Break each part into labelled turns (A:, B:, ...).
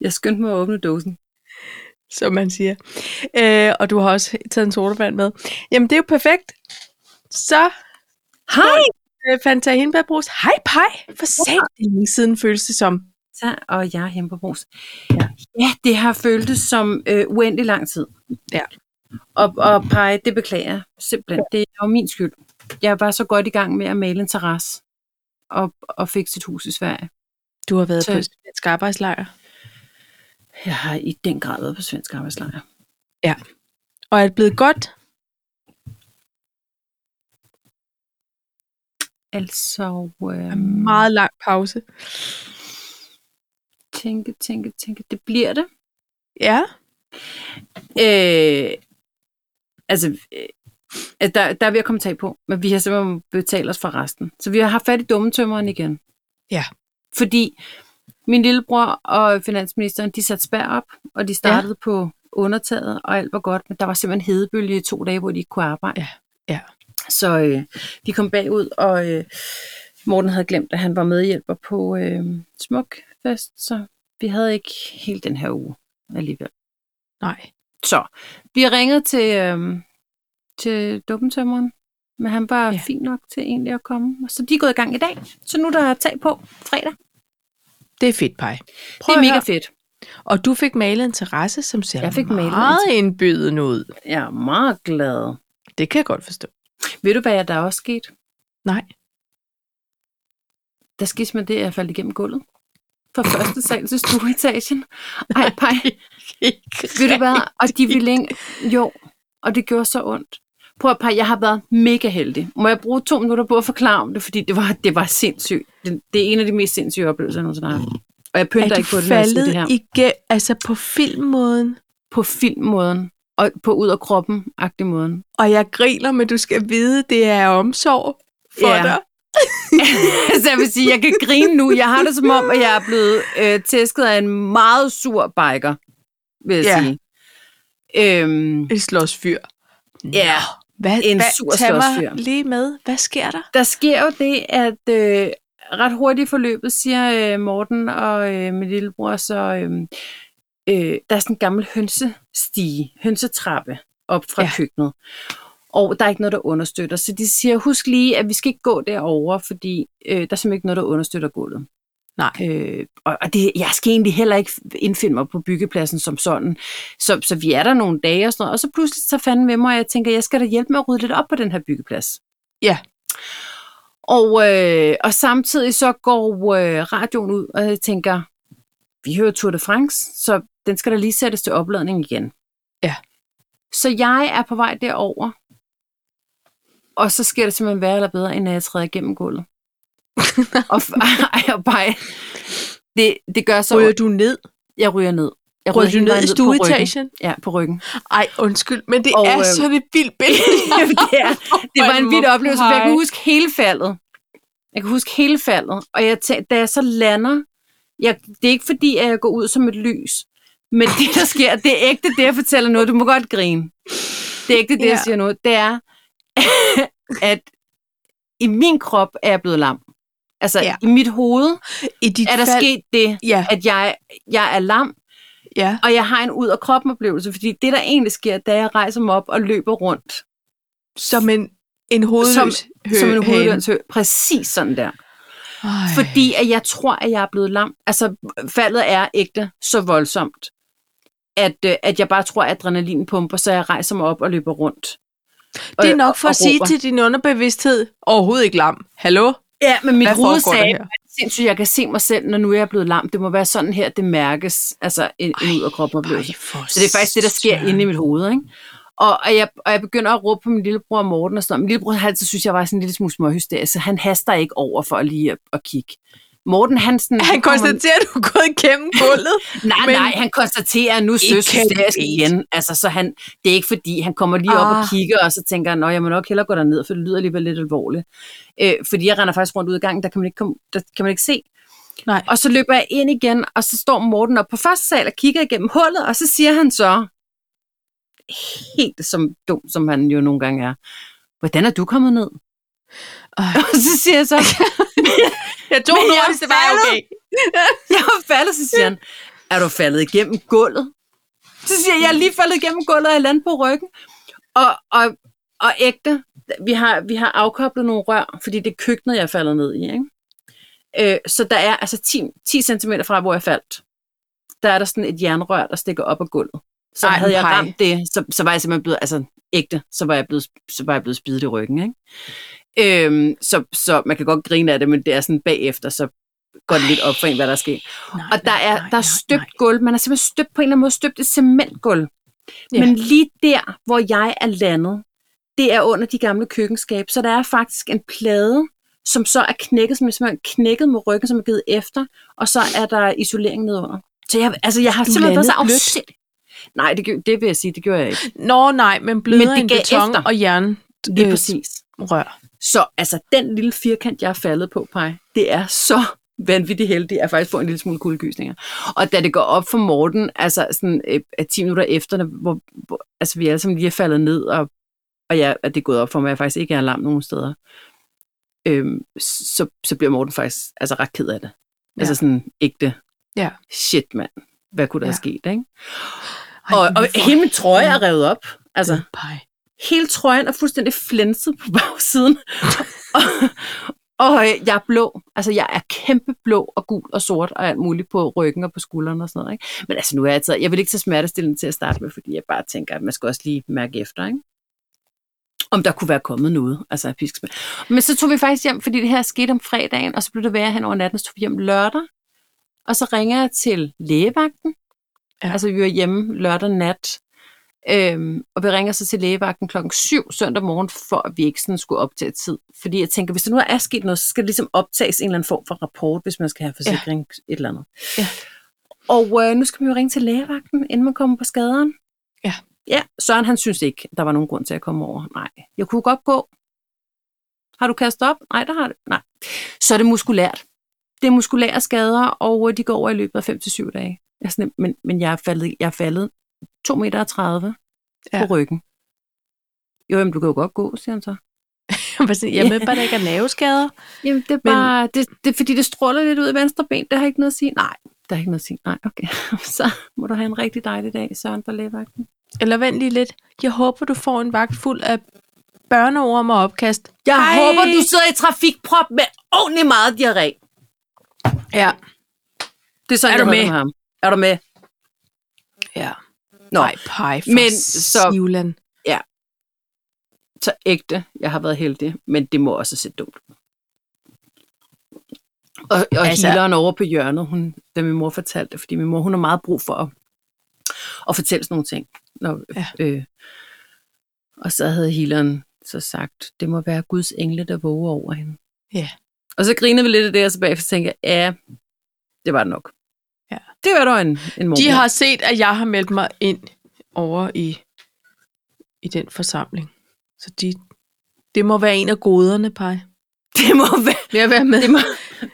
A: Jeg skyndte mig at åbne dåsen.
B: som man siger. Øh, og du har også taget en sodavand med. Jamen, det er jo perfekt. Så
A: Hej!
B: øh, Fanta Hindbærbrus. Hej, pej! For satan, det er længe siden føles det som.
A: Så, og jeg er hjemme på brus. Ja. ja, det har føltes som øh, uendelig lang tid.
B: Ja.
A: Og, og pege, det beklager jeg simpelthen. Det er jo min skyld. Jeg var så godt i gang med at male en terrasse og, og fik sit hus i Sverige.
B: Du har været
A: Så-
B: på et svensk arbejdslejr.
A: Jeg har i den grad været på svensk arbejdslejr.
B: Og er det blevet godt?
A: Altså, øh,
B: En meget lang pause.
A: tænke, tænke, tænke. Det bliver det.
B: Ja.
A: Øh, altså, øh, at der, der er ved at komme tag på, men vi har simpelthen betalt os for resten. Så vi har haft fat i dummetømmeren igen.
B: Ja.
A: Fordi min lillebror og finansministeren, de satte spær op, og de startede ja. på undertaget, og alt var godt, men der var simpelthen hedebølge i to dage, hvor de ikke kunne arbejde.
B: Ja, ja.
A: Så øh, de kom bagud, og øh, Morten havde glemt, at han var medhjælper på øh, Smukfest, så vi havde ikke hele den her uge alligevel.
B: Nej.
A: Så vi har ringet til, øhm, til dubbentømmeren, men han var
B: Ja.
A: ja. fint nok til egentlig at komme. Så de er gået i gang i dag, så nu er der tag på fredag.
B: Det er fedt, pej.
A: Prøv det er
B: at
A: mega
B: høre.
A: fedt.
B: Og du fik malet en terrasse, som ser
A: Jeg fik malet en
B: meget indbydende ud.
A: Jeg er meget glad.
B: Det kan jeg godt forstå.
A: Ved du, hvad der er også sket?
B: Nej.
A: Der skete med det, at jeg faldt igennem gulvet. Fra første sal til stueetagen. Ej, pej. Ved du hvad? Og de ville ikke... Jo, og det gjorde så ondt. Prøv at pege, jeg har været mega heldig. Må jeg bruge to minutter på at forklare om det, fordi det var, det var sindssygt. Det, det er en af de mest sindssyge oplevelser, jeg nogensinde har haft. Og jeg
B: Mm. er
A: pynter
B: du
A: ikke på det, når jeg siger det
B: faldet
A: her. I...
B: igen, altså på filmmåden?
A: På filmmåden, og på ud af kroppen-agtig måden.
B: Og jeg griner, men du skal vide, det er omsorg for
A: Ja.
B: dig.
A: så Altså, jeg vil sige, jeg kan grine nu. Jeg har det som om, at jeg er blevet øh, tæsket af en meget sur biker, vil jeg
B: Ja.
A: sige. Øhm,
B: Et slåsfyr.
A: ja.
B: Hvad,
A: En
B: hvad,
A: sur
B: tag mig
A: slåsfyr.
B: lige med. Hvad sker der?
A: der sker jo det, at øh, ret hurtigt i forløbet, siger øh, Morten og øh, min lillebror, så øh, øh, der er sådan en gammel hønsestige, hønsetrappe op fra
B: Ja.
A: ja. køkkenet. Og der er ikke noget, der understøtter. Så de siger, husk lige, at vi skal ikke gå derover, fordi øh, der er simpelthen ikke noget, der understøtter gulvet.
B: Nej.
A: Øh, og og det, jeg skal egentlig heller ikke indfinde mig på byggepladsen som sådan. Så, så vi er der nogle dage og sådan noget. Og så pludselig så fanden med mig, og jeg tænker, jeg skal da hjælpe med at rydde lidt op på den her byggeplads.
B: Ja.
A: Og, øh, og samtidig så går øh, radioen ud, og jeg tænker, vi hører Tour de France, så den skal da lige sættes til opladning igen.
B: Ja.
A: Så jeg er på vej derover, og så sker det simpelthen værre eller bedre, end at jeg træder igennem gulvet. og, f- ej, og bare, det, det gør så,
B: Ryger du ned?
A: jeg ryger ned. Jeg
B: Ryger du
A: hele
B: ned
A: vejen
B: i
A: på ryggen.
B: stueetagen?
A: Ja, på ryggen.
B: Ej, undskyld, men det
A: Og,
B: er
A: øh,
B: sådan et vildt billede.
A: det, er, det var en
B: Hvor
A: vild oplevelse, for jeg
B: pej.
A: kunne huske hele faldet. Jeg kunne huske hele faldet, og jeg tæ- da jeg så lander, jeg, det er ikke fordi, at jeg går ud som et lys, men det, der sker, det er ægte, det jeg fortæller noget. Du må godt grine. Det er ægte, det, jeg
B: Ja.
A: siger noget. Det er, at i min krop er jeg blevet lam. Altså,
B: Ja.
A: ja. i mit hoved
B: I dit
A: er der
B: fald.
A: sket det,
B: Ja,
A: at jeg, jeg er lam,
B: ja.
A: og jeg har en ud-af-kroppen-oplevelse, fordi det, der egentlig sker, da jeg rejser mig op og løber rundt,
B: Som en, en hovedløs
A: Som-
B: hø-
A: som en
B: hane.
A: hovedlønshø. Præcis sådan der.
B: Ej.
A: Fordi at jeg tror, at jeg er blevet lam. Altså, faldet er ægte så voldsomt, at, øh, at jeg bare tror, at adrenalin pumper, så jeg rejser mig op og løber rundt.
B: det er nok for
A: og,
B: at sige
A: råber.
B: til din underbevidsthed, overhovedet ikke lam. Hallo?
A: Ja, men mit
B: Hvad
A: hoved
B: foregår der
A: sagde,
B: her?
A: sindssygt, jeg kan se mig selv, når nu er jeg blevet lam. Det må være sådan her, det mærkes. Altså, en, en ud af kroppen oplevelse.
B: Ej, for
A: Så det er faktisk det, der sker
B: søren.
A: inde i mit hoved, ikke? Og, og, jeg, og jeg begynder at råbe på min lillebror Morten og sådan noget. Min lillebror har altid synes, jeg var sådan en lille smule småhysterisk, så han haster ikke over for at lige at, at kigge. Morten Hansen...
B: Han konstaterer, at du er gået igennem gulvet.
A: Nej,
B: men-
A: nej, han konstaterer, at nu
B: Ikke
A: søs hysterisk
B: det.
A: igen. Altså, så han, det er ikke fordi, han kommer lige op
B: Ah.
A: og kigger, og så tænker han, "Nå, jeg må nok hellere gå derned, for det lyder alligevel lidt alvorligt. Øh, fordi jeg render faktisk rundt ud i gangen, der kan man ikke, komme, der kan man ikke se.
B: Nej.
A: Og så løber jeg ind igen, og så står Morten op på første sal og kigger igennem hullet, og så siger han så, helt som dum, som han jo nogle gange er, hvordan er du kommet ned?
B: Ej.
A: Og så siger jeg så,
B: Jeg tog
A: Men
B: den
A: jeg
B: hurtigste vej,
A: faldet.
B: okay.
A: jeg har faldet, så siger han, er du faldet igennem gulvet? Så siger jeg, jeg er lige faldet igennem gulvet, og jeg landede på ryggen. Og, og, og ægte, vi har, vi har afkoblet nogle rør, fordi det er køkkenet, jeg er faldet ned i. Ikke? Øh, så der er altså 10, 10 cm fra, hvor jeg faldt, der er der sådan et jernrør, der stikker op af gulvet. Så
B: Ej,
A: Ej, havde jeg
B: nej.
A: ramt det, så, så var jeg simpelthen blevet, altså ægte, så var jeg blevet, så var jeg blevet spidet i ryggen. Ikke? Øhm, så, så man kan godt grine af det, men det er sådan bagefter, så går det lidt op for en, hvad der er sket.
B: Nej,
A: Og der er, der er støbt
B: nej.
A: gulv. Man har simpelthen støbt på en eller anden måde støbt et cementgulv.
B: Ja.
A: Ja. Men lige der, hvor jeg er landet, det er under de gamle køkkenskab. Så der er faktisk en plade, som så er knækket, som er simpelthen knækket med ryggen, som er givet efter. Og så er der isolering nedenunder. Så jeg, altså, jeg har
B: Du
A: simpelthen været så
B: landede blødt.
A: afsindig. Nej, det, gjorde- det vil jeg sige, det gjorde jeg ikke.
B: Nå nej, men blødere
A: det
B: end
A: gav
B: beton
A: efter.
B: og jern.
A: Lige
B: øh,
A: præcis.
B: Rør.
A: Så altså, den lille firkant, jeg er faldet på, Paj, det er så vanvittigt heldigt, at jeg faktisk får en lille smule kuldegysninger. Og da det går op for Morten, altså sådan øh, at 10 minutter efter, hvor, hvor altså, vi alle sammen lige er faldet ned, og, og jeg, at det er gået op for mig, at jeg faktisk ikke er alarm nogen steder, øhm, så, så bliver Morten faktisk altså, ret ked af det. Ja.
B: Ja.
A: Altså sådan ægte.
B: Ja.
A: Shit, mand. Hvad kunne der ja.
B: Ja.
A: have sket, ikke?
B: Ej,
A: Og, og
B: hvorfor? Mm.
A: hele min trøje er revet op. Altså,
B: Pej.
A: hele trøjen er fuldstændig flænset på bagsiden. og, og øh, jeg er blå. Altså, jeg er kæmpe blå og gul og sort og alt muligt på ryggen og på skuldrene og sådan noget. Ikke? Men altså, nu er jeg taget, jeg vil ikke tage smertestillende til at starte med, fordi jeg bare tænker, at man skal også lige mærke efter, ikke? om der kunne være kommet noget, altså af piskespil. Men så tog vi faktisk hjem, fordi det her skete om fredagen, og så blev det værre hen over natten, så tog vi hjem lørdag, og så ringer jeg til lægevagten.
B: Ja.
A: Ja. Altså, vi var hjemme lørdag nat, Øhm, og vi ringer så til lægevagten klokken 7 søndag morgen, for at vi ikke sådan skulle optage tid. Fordi jeg tænker, hvis der nu er sket noget, så skal det ligesom optages en eller anden form for rapport, hvis man skal have forsikring, ja. et eller andet.
B: Ja.
A: Og øh, nu skal man jo ringe til lægevagten, inden man kommer på skaderen.
B: Ja.
A: Ja, Søren han synes ikke, der var nogen grund til at komme over. Nej, jeg kunne godt gå. Har du kastet op? Nej, der har det. Nej. Så er det muskulært. Det er muskulære skader, og øh, de går over i løbet af 5-7 dage. Jeg er sådan, men, men jeg er faldet, jeg er faldet 2,30 meter
B: Ja.
A: ja. på ryggen. Jo, jamen, du kan jo godt gå, siger han så.
B: Jeg ved bare, der ikke er nerveskader.
A: Jamen, det er
B: Men-
A: bare, men... det, det, er fordi det stråler lidt ud i venstre ben, der har ikke noget at sige. Nej, der er ikke noget at sige. Nej, okay. Så må du have en rigtig dejlig dag, Søren fra lægevagten.
B: Eller vent lige lidt. Jeg håber, du får en vagt fuld af børneorm og opkast.
A: Jeg
B: Hej.
A: Hej. håber, du sidder i trafikprop med ordentlig meget diarré.
B: Ja.
A: Det er sådan,
B: Er
A: er
B: du
A: du
B: med?
A: med? ham. Er du med?
B: ja.
A: Nå,
B: Nej, pej for Men,
A: Men så-
B: Sivland.
A: så ægte, jeg har været heldig, men det må også se dumt ud. Og, og
B: Altså-
A: altså, healeren over på hjørnet, hun, da min mor fortalte det, fordi min mor, hun har meget brug for at, at fortælle sådan nogle ting. Når,
B: Ja.
A: ja. øh, og så havde healeren så sagt, det må være Guds engle, der våger over hende.
B: Ja.
A: Og så grinede vi lidt af det, og så bagefter tænkte jeg, ja, det var det nok.
B: Ja.
A: Det var dog en, en mor.
B: De har set, at jeg har meldt mig ind over i, i den forsamling. Så de, det må være en af goderne, Pej.
A: Det må være,
B: Vil jeg være med?
A: det må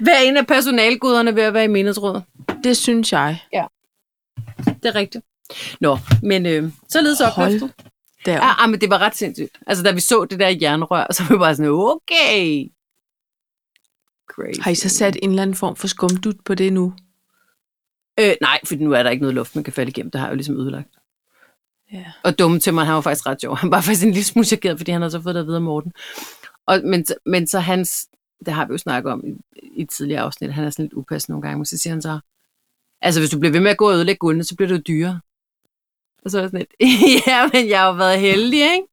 A: være en af personalguderne ved at være i menighedsrådet.
B: Det synes jeg.
A: Det er rigtigt. Nå, men øh, således opløftet.
B: Der.
A: Ja, ah, men det var ret sindssygt. Altså, da vi så det der jernrør, så var vi bare sådan, okay. Crazy.
B: Har I så sat en eller anden form for skumdut på det nu?
A: Øh, nej, for nu er der ikke noget luft, man kan falde igennem. Det har jeg jo ligesom ødelagt.
B: Ja.
A: Og dumme til mig, han var faktisk ret sjov. Han var faktisk en lille smule chokeret, fordi han havde så fået det videre af Morten. Og, men, men så hans, det har vi jo snakket om i, i et tidligere afsnit, han er sådan lidt upassende nogle gange, men så siger han så, altså hvis du bliver ved med at gå og ødelægge guldene, så bliver det jo dyrere. Og så er jeg sådan lidt, ja, men jeg har jo været heldig, ikke?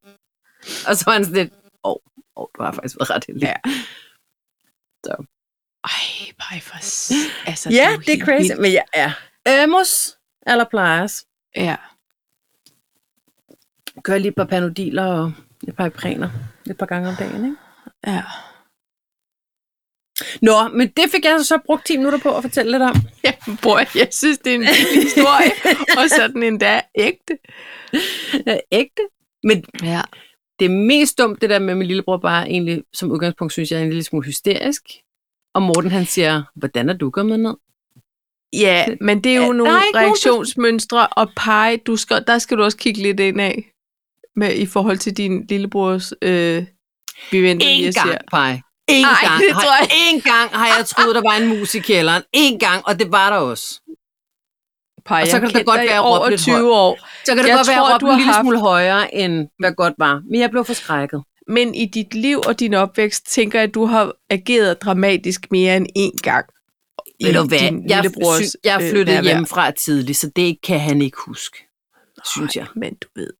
A: Og så var han sådan lidt, åh, oh, oh, du har faktisk været ret heldig.
B: Ja. Ej, Pej, for... s- Altså, er jo helt vildt.
A: men jeg er. Øhm, Ømus eller plejes.
B: Ja.
A: gør lige et par panodiler og et par ipraner et par gange om dagen, ikke?
B: ja.
A: Nå, men det fik jeg altså så brugt 10 minutter på at fortælle lidt om.
B: Ja, bror, jeg synes, det er en vild historie, og sådan endda ægte.
A: Øh, Ægte. Men
B: Ja.
A: det mest dumt, det der med at min lillebror, bare egentlig som udgangspunkt, synes jeg er en lille smule hysterisk. Og Morten han siger, hvordan er du kommet ned?
B: ja, men det er jo
A: Der er
B: nogle
A: ikke nogen, der-
B: reaktionsmønstre, og pege, du skal, der skal du også kigge lidt ind af, med, i forhold til din lillebrors øh, vi venter lige
A: En
B: og ser.
A: gang, Paj. En
B: Ej,
A: gang,
B: det tror jeg
A: har, en gang har jeg troet, der var en mus i kælderen. En gang, og det var der også.
B: Paj,
A: Og så
B: jeg
A: kan det
B: har kendt
A: godt
B: dig i
A: være, jeg
B: over
A: råbte lidt
B: 20 år.
A: Så kan det
B: Jeg
A: godt være, at
B: tror,
A: jeg råbte
B: du har
A: en lille
B: haft-
A: smule højere, end hvad godt var. Men jeg blev forskrækket.
B: Men i dit liv og din opvækst, tænker jeg, at du har ageret dramatisk mere end én gang. i
A: Ved du hvad?
B: din
A: Jeg,
B: lillebrors,
A: sy- jeg
B: øh,
A: flyttede øh,
B: nærvær.
A: hjemmefra tidligt, så det kan han ikke huske, synes
B: Nej,
A: jeg.
B: Men du ved,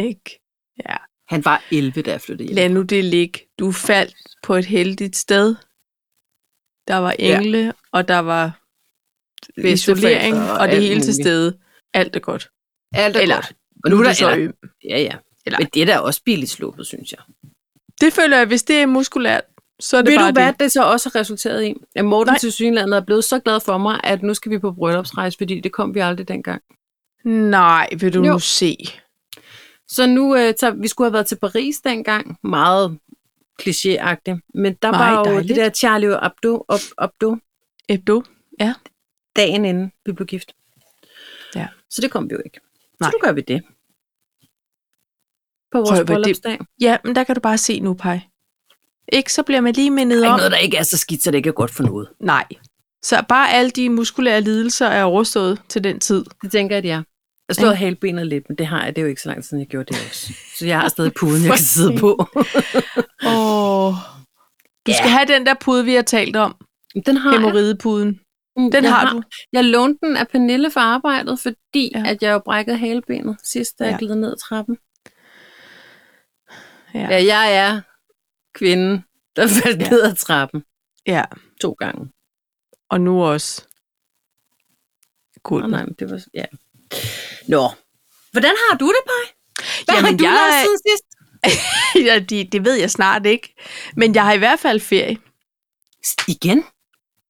B: ikke? Ja.
A: Han var 11, da jeg flyttede hjem.
B: Lad nu det ligge. Du faldt på et heldigt sted. Der var engle, ja. og der var
A: Bedsteforældre
B: isolering,
A: og
B: og, og det
A: alt
B: hele til
A: muligt.
B: stede. Alt er godt.
A: Alt er
B: Eller,
A: godt. Og nu er der,
B: det så
A: eller,
B: øm.
A: ja, ja.
B: Eller-
A: Men det er da også billigt sluppet, synes jeg.
B: Det føler jeg, hvis det er muskulært, så er det
A: Ved
B: bare
A: du hvad
B: det.
A: det. det så også har resulteret i? At Morten
B: Nej.
A: Nej. til synlandet er blevet så glad for mig, at nu skal vi på bryllupsrejse, fordi det kom vi aldrig dengang.
B: Nej, vil du jo.
A: Jo.
B: nu se.
A: Så nu, øh, tager, vi skulle have været til Paris dengang, meget klichéagtigt, men der
B: Meget
A: var jo
B: dejligt.
A: det der Charlie Abdo, op, Abdo
B: Ebdo?
A: dagen inden vi blev gift.
B: Ja.
A: Så det kom vi jo ikke.
B: Nej.
A: Så nu gør vi det. På
B: Prøv
A: vores
B: at være det-
A: bryllupsdag. Det
B: Ja, men der kan du bare se nu, Paj. Ikke, så bliver man lige mindet
A: er
B: om.
A: ikke noget, der ikke er så skidt, så det ikke er godt for noget.
B: Nej. Så bare alle de muskulære lidelser er overstået til den tid.
A: Det tænker jeg, at jeg. Jeg slår halbenet lidt, men det har jeg. Det er jo ikke så lang tid, siden jeg gjorde det også. Så jeg har stadig puden, jeg kan sidde på.
B: Åh. Du
A: Ja.
B: skal have den der pude, vi har talt om.
A: Den har jeg.
B: Hæmoridepuden.
A: Mm,
B: Den
A: jeg
B: har du.
A: Jeg lånte den af Pernille for arbejdet, fordi
B: Ja.
A: ja. at jeg jo brækkede halebenet sidst, da
B: Ja.
A: jeg gled ned ad trappen.
B: Ja.
A: Ja. ja, jeg er kvinden, der faldt
B: Ja.
A: ja. ned ad trappen
B: Ja,
A: to gange.
B: og nu også.
A: Åh,
B: Gud.
A: nej, men det var... Ja. Nå, hvordan har du det, Paj? Hvad
B: Jamen,
A: har du
B: jeg-
A: lavet siden sidst?
B: ja, det, det ved jeg snart ikke. Men jeg har i hvert fald ferie.
A: Igen? Åh,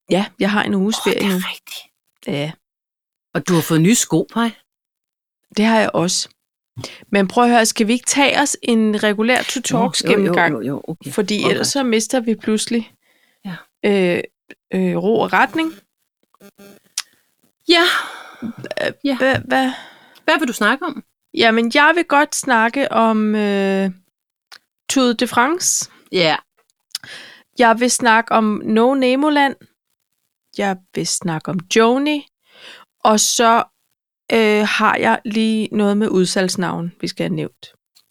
B: Ja, jeg har en uges
A: det
B: ferie nu.
A: er rigtigt.
B: Ja,
A: Og du har fået nye sko, Paj?
B: det har jeg også. Men prøv at høre, skal vi ikke tage os en regulær to-talks gennemgang?
A: Jo, jo, jo, jo, okay.
B: Fordi
A: Okay.
B: ellers så mister vi pludselig
A: Ja.
B: øh, øh, ro og retning.
A: Ja,
B: Hva, hva?
A: hvad vil du snakke om?
B: Jamen, jeg vil godt snakke om øh, Tour de France.
A: Ja,
B: Jeg vil snakke om No Nemoland. Jeg vil snakke om Joni. Og så øh, har jeg lige noget med udsalgsnavn, vi skal have nævnt.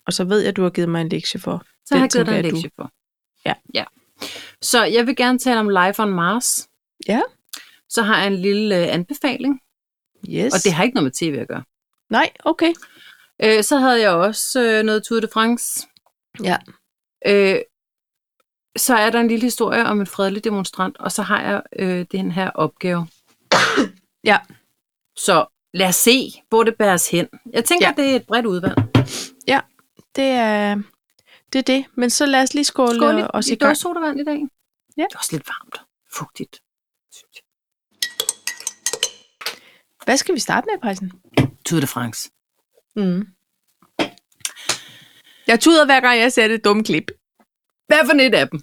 B: Og så ved jeg, du har givet mig en lektie for.
A: så har
B: Den
A: jeg givet dig en
B: tænker jeg, du-
A: lektie for.
B: Ja.
A: ja. Så jeg vil gerne tale om Life on Mars.
B: Ja.
A: Så har jeg en lille øh, anbefaling,
B: Yes.
A: og det har ikke noget med tv at gøre.
B: Nej, okay.
A: Øh, så havde jeg også øh, noget Tour de France.
B: Ja.
A: Øh, så er der en lille historie om en fredelig demonstrant, og så har jeg øh, den her opgave.
B: Ja.
A: Så lad os se, hvor det bæres hen. Jeg tænker,
B: Ja.
A: ja. det er et bredt udvalg.
B: Det er, det er det. Men så lad os lige skåle,
A: Skål
B: og
A: i,
B: se
A: i dåse sodavand i dag.
B: Ja.
A: Det er også lidt varmt. Fugtigt. synes jeg.
B: Hvad skal vi starte med, Pejsen?
A: Tour de France.
B: Mm. Jeg tuder hver gang, jeg ser det dumme klip.
A: Hvad for et af dem?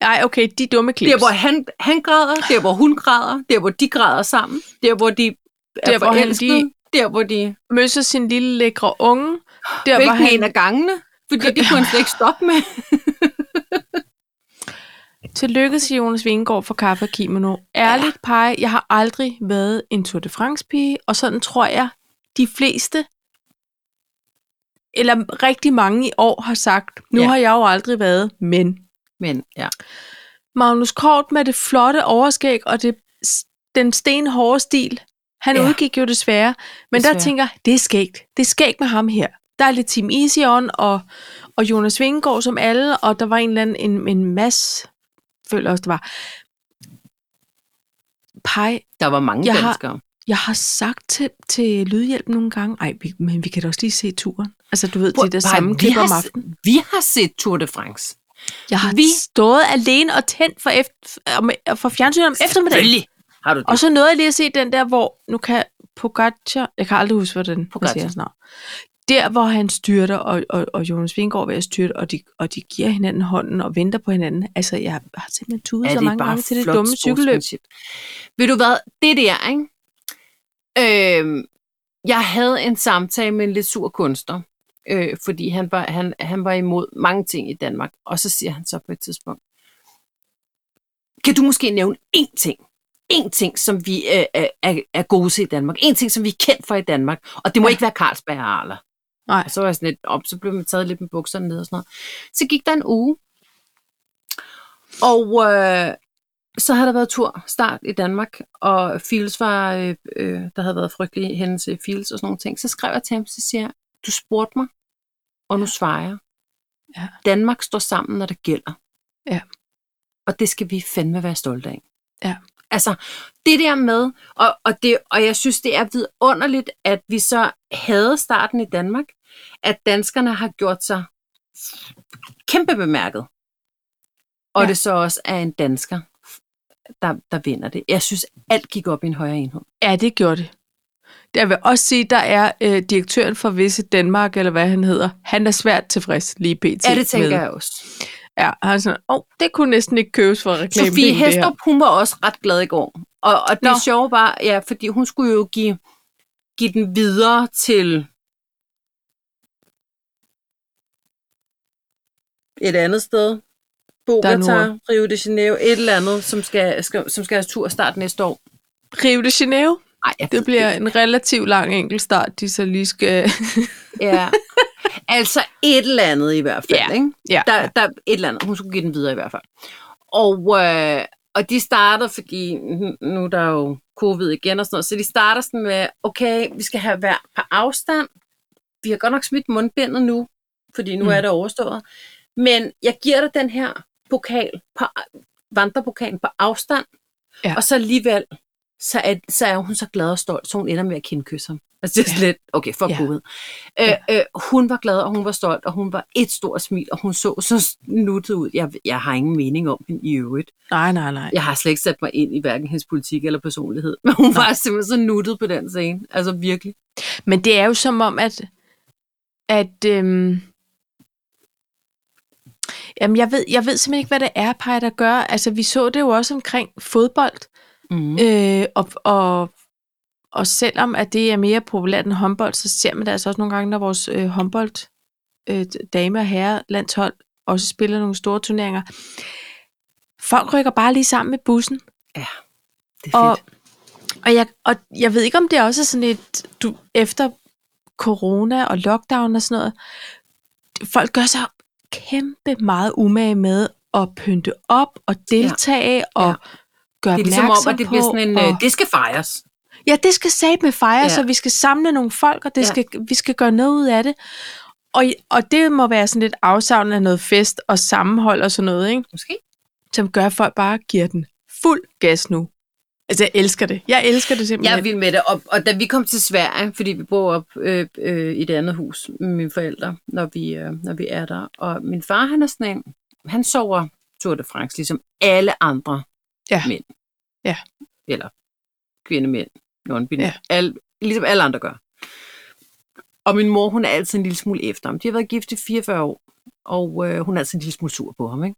B: Nej, okay, de dumme klips.
A: Der, hvor han, han græder, der, hvor hun græder, der, hvor de græder sammen, der, hvor de er
B: Der,
A: der,
B: hvor
A: hvor
B: han
A: forelskede,
B: lige-
A: der, hvor de...
B: møsser sin lille lækre unge. Der var
A: Hvilken
B: han...
A: en af gangene? Fordi det kunne han slet ikke stoppe med.
B: Tillykke til Jonas Vingegaard for kaffe og kimono. Ærligt, pege, jeg har aldrig været en Tour de France-pige, og sådan tror jeg, de fleste, eller rigtig mange i år har sagt, nu
A: Ja.
B: har jeg jo aldrig været, men
A: Men ja,
B: Magnus Kort med det flotte overskæg og det, den stenhårde stil. Han ja.
A: Ja.
B: udgik jo desværre, men desværre. der
A: Desværre.
B: tænker jeg, det er skægt. Det er skægt med ham her. Der er lidt Team Easy on og, og Jonas Vingegaard som alle, og der var en eller anden en, en masse, føler jeg også, det var. Pej,
A: der var mange
B: Jeg har-
A: danskere.
B: jeg har sagt til, til Lydhjælp nogle gange, ej, vi, men vi kan da også lige se turen. Altså, du ved,
A: Prøv-
B: det der
A: Paj,
B: samme
A: vi
B: klip
A: har
B: om
A: s-
B: aftenen.
A: Vi har set Tour de France.
B: Jeg har vi...
A: vi-
B: stået alene og tændt for, efter, om- for fjernsynet om eftermiddagen.
A: Selvfølgelig har du det.
B: Og så nåede jeg lige at se den der, hvor nu kan Pogacar, jeg kan aldrig huske, hvordan den
A: Pogacar.
B: siger snart. Der, hvor han styrter, og, og, og Jonas Vingård ved at styrte, og de, og de giver hinanden hånden og venter på hinanden. Altså, jeg har simpelthen tudet så mange gange til det
A: flot
B: dumme cykelløb.
A: sportsmanship. Ved du hvad, det der, ikke? Øhm, jeg havde en samtale med en lidt sur kunstner, øh, fordi han var, han, han var imod mange ting i Danmark, og så siger han så på et tidspunkt, kan du måske nævne én ting, én ting, som vi øh, er, er, er gode til i Danmark. En ting, som vi er kendt for i Danmark. Og det må
B: Ja.
A: ja. ikke være Carlsberg Arler.
B: Nej.
A: Og så var jeg sådan lidt op, så blev man taget lidt med bukserne ned og sådan noget. Så gik der en uge. Og øh, så havde der været turstart i Danmark, og Fields var, øh, øh, der havde været frygtelige hændelse i Fields og sådan nogle ting. Så skrev jeg til ham, så siger jeg, du spurgte mig, og nu svarer jeg.
B: Ja.
A: Danmark står sammen, når det gælder.
B: Ja.
A: Og det skal vi fandme være stolte af.
B: Ja.
A: Altså, det der med, og, og, det, og jeg synes, det er vidunderligt, at vi så havde starten i Danmark, at danskerne har gjort sig kæmpe bemærket. Og
B: Ja.
A: ja. det så også er en dansker, der, der vinder det. Jeg synes, alt gik op i en højere enhed.
B: Ja, det gjorde det. Jeg vil også sige, der er øh, direktøren for Visse Danmark, eller hvad han hedder, han er svært tilfreds lige pt.
A: Ja, det tænker
B: med.
A: jeg også.
B: Ja, han er sådan, åh, oh, det kunne næsten ikke købes for reklame.
A: Sofie Hestrup, hun var også ret glad i går. Og, og det
B: Nå.
A: sjove var, ja, fordi hun skulle jo give, give den videre til et andet sted. Bogota,
B: Nord.
A: Rio de Janeiro, et eller andet, som skal, skal, som skal have tur start næste år.
B: Rio de Janeiro,
A: Ej, jeg ved
B: det bliver en relativt lang enkeltstart, de så lige skal...
A: Ja. Altså et eller andet i hvert fald,
B: Ja,
A: ikke?
B: ja,
A: Der, der, et eller andet. Hun skulle give den videre i hvert fald. Og, øh, og de starter, fordi nu- nu er der jo covid igen og sådan noget, så de starter sådan med, okay, vi skal have hver på afstand. Vi har godt nok smidt mundbindet nu, fordi nu
B: Mm.
A: mm. er det overstået. Men jeg giver dig den her pokal, på, vandrepokalen på afstand,
B: Ja.
A: ja. og så alligevel, så er, så er hun så glad og stolt, så hun ender med at kindkysse ham. Altså det er ja. lidt, okay, for
B: Ja.
A: ja. covid. Øh, øh, hun var glad, og hun var stolt, og hun var et stort smil, og hun så så nuttet ud. Jeg, jeg har ingen mening om hende i øvrigt.
B: Nej, nej, nej.
A: Jeg har slet ikke sat mig ind i hverken hendes politik eller personlighed, men hun
B: Nej.
A: var simpelthen så nuttet på den scene. Altså virkelig.
B: Men det er jo som om, at... at øhm, jamen, jeg ved, jeg ved simpelthen ikke, hvad det er, Paj, der gør. Altså, vi så det jo også omkring fodbold.
A: Mm.
B: Øh, og, og, og selvom at det er mere populært end håndbold, så ser man det altså også nogle gange, når vores øh, håndbold øh, dame- og herrelandshold også spiller nogle store turneringer. Folk rykker bare lige sammen med bussen.
A: Det er
B: Og,
A: fedt.
B: og, jeg, og jeg ved ikke, om det også er sådan et, du, efter corona og lockdown og sådan noget, folk gør sig kæmpe meget umage med at pynte op og deltage ja. og
A: Ja.
B: gøre
A: Det er ligesom om,
B: opmærksom
A: at det bliver
B: på,
A: sådan en,
B: og,
A: øh, det skal fejres.
B: Ja, det skal satme fejres, ja.
A: Ja.
B: og vi skal samle nogle folk, og det ja.
A: Ja.
B: skal, vi skal gøre noget ud af det. Og, og det må være sådan lidt afsavnet af noget fest og sammenhold og sådan noget, ikke?
A: Måske.
B: som gør, at folk bare giver den fuld gas nu. Altså, jeg elsker det. Jeg elsker det
A: Jeg
B: simpelthen.
A: er vild med det. Og, og da vi kom til Sverige, fordi vi bor op øh, øh, i det andet hus med mine forældre, når vi, øh, når vi er der. Og min far, han er sådan en, han sover Tour de France, ligesom alle andre
B: Ja.
A: mænd.
B: Ja.
A: Eller kvindemænd, non-binære.
B: Ja.
A: Ja. Al, ligesom alle andre gør. Og min mor, hun er altid en lille smule efter ham. De har været gift i 44 år, og øh, hun er altid en lille smule sur på ham, ikke?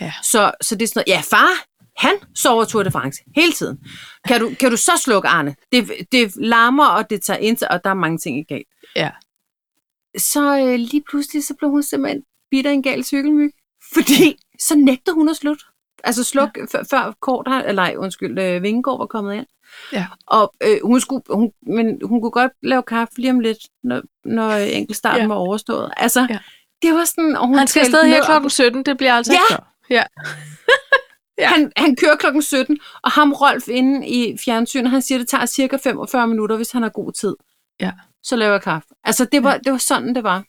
B: Ja.
A: Så, så det er sådan noget, ja, far, han sover Tour de France hele tiden. Kan du, kan du så slukke, Arne? Det, det larmer, og det tager ind, og der er mange ting i galt.
B: Ja.
A: Så øh, lige pludselig, så blev hun simpelthen bitter en gal cykelmyg, fordi så nægter hun at slutte. Altså sluk, ja. før, før Kort, har- eller ej, undskyld, øh, Vingegaard var kommet ind.
B: Ja.
A: Og øh, hun, skulle, hun, men hun kunne godt lave kaffe lige om lidt, når, når øh, enkeltstarten
B: Ja.
A: ja. var overstået. Altså,
B: Ja.
A: ja. det var sådan... Og hun
B: Han skal
A: talte
B: afsted
A: ned
B: her
A: og-
B: klokken 17, det bliver altså
A: Ja!
B: ikke før. Ja. Ja.
A: Ja. Han, han kører klokken 17, og ham Rolf inde i fjernsynet, han siger, det tager cirka 45 minutter, hvis han har god tid.
B: Ja.
A: Så laver jeg kaffe. Altså, det var, det var sådan, det var.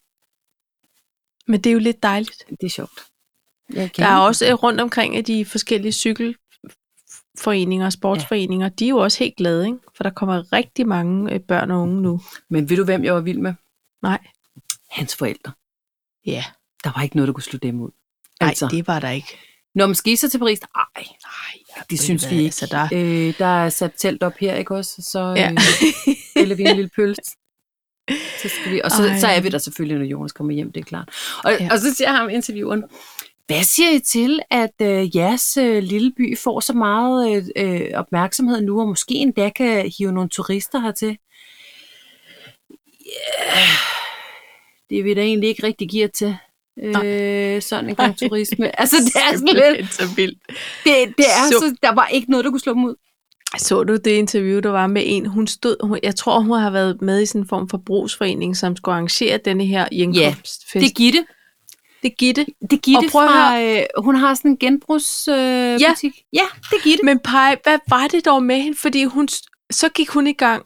B: Men det er jo lidt dejligt.
A: Det er sjovt. Jeg
B: Der er også øh, rundt omkring af de forskellige cykelforeninger og sportsforeninger, de er jo også helt glade, ikke? for der kommer rigtig mange øh, børn og unge nu.
A: Men ved du, hvem jeg var vild med?
B: Nej.
A: Hans forældre.
B: Ja,
A: Der var ikke noget, der kunne slå dem ud.
B: nej,
A: Altså,
B: det var der ikke.
A: Når man skal I så til Paris, nej,
B: Nej,
A: det synes vi
B: hvad,
A: ikke.
B: altså, der-
A: øh, der er sat telt op her, ikke også? Så
B: Ja.
A: ja. øh, spiller vi en lille pølse. Så skal vi, og så,
B: Ej.
A: så er vi der selvfølgelig, når Jonas kommer hjem, det er klart. Og,
B: Ja.
A: ja. og så siger ham intervieweren, hvad siger I til, at øh, jeres øh, lille by får så meget øh, øh, opmærksomhed nu, og måske endda kan hive nogle turister hertil? Yeah. Det er vi da egentlig ikke rigtig gear til. Øh, sådan en gang
B: Nej.
A: turisme. Altså, det er sådan lidt,
B: så vildt.
A: det, det er
B: Så-
A: så, der var ikke noget, der kunne slå dem ud.
B: Så du det interview, der var med en? Hun stod, hun, jeg tror, hun har været med i sådan en form for brugsforening, som skulle arrangere denne her hjemkomstfest.
A: Det er Gitte.
B: det er Gitte.
A: Det er Gitte
B: Og prøv at
A: fra, øh, hun har sådan en genbrugsbutik. Øh,
B: Ja.
A: butik. ja, det er Gitte.
B: Men Paj, hvad var det dog med hende? Fordi hun, s- så gik hun i gang,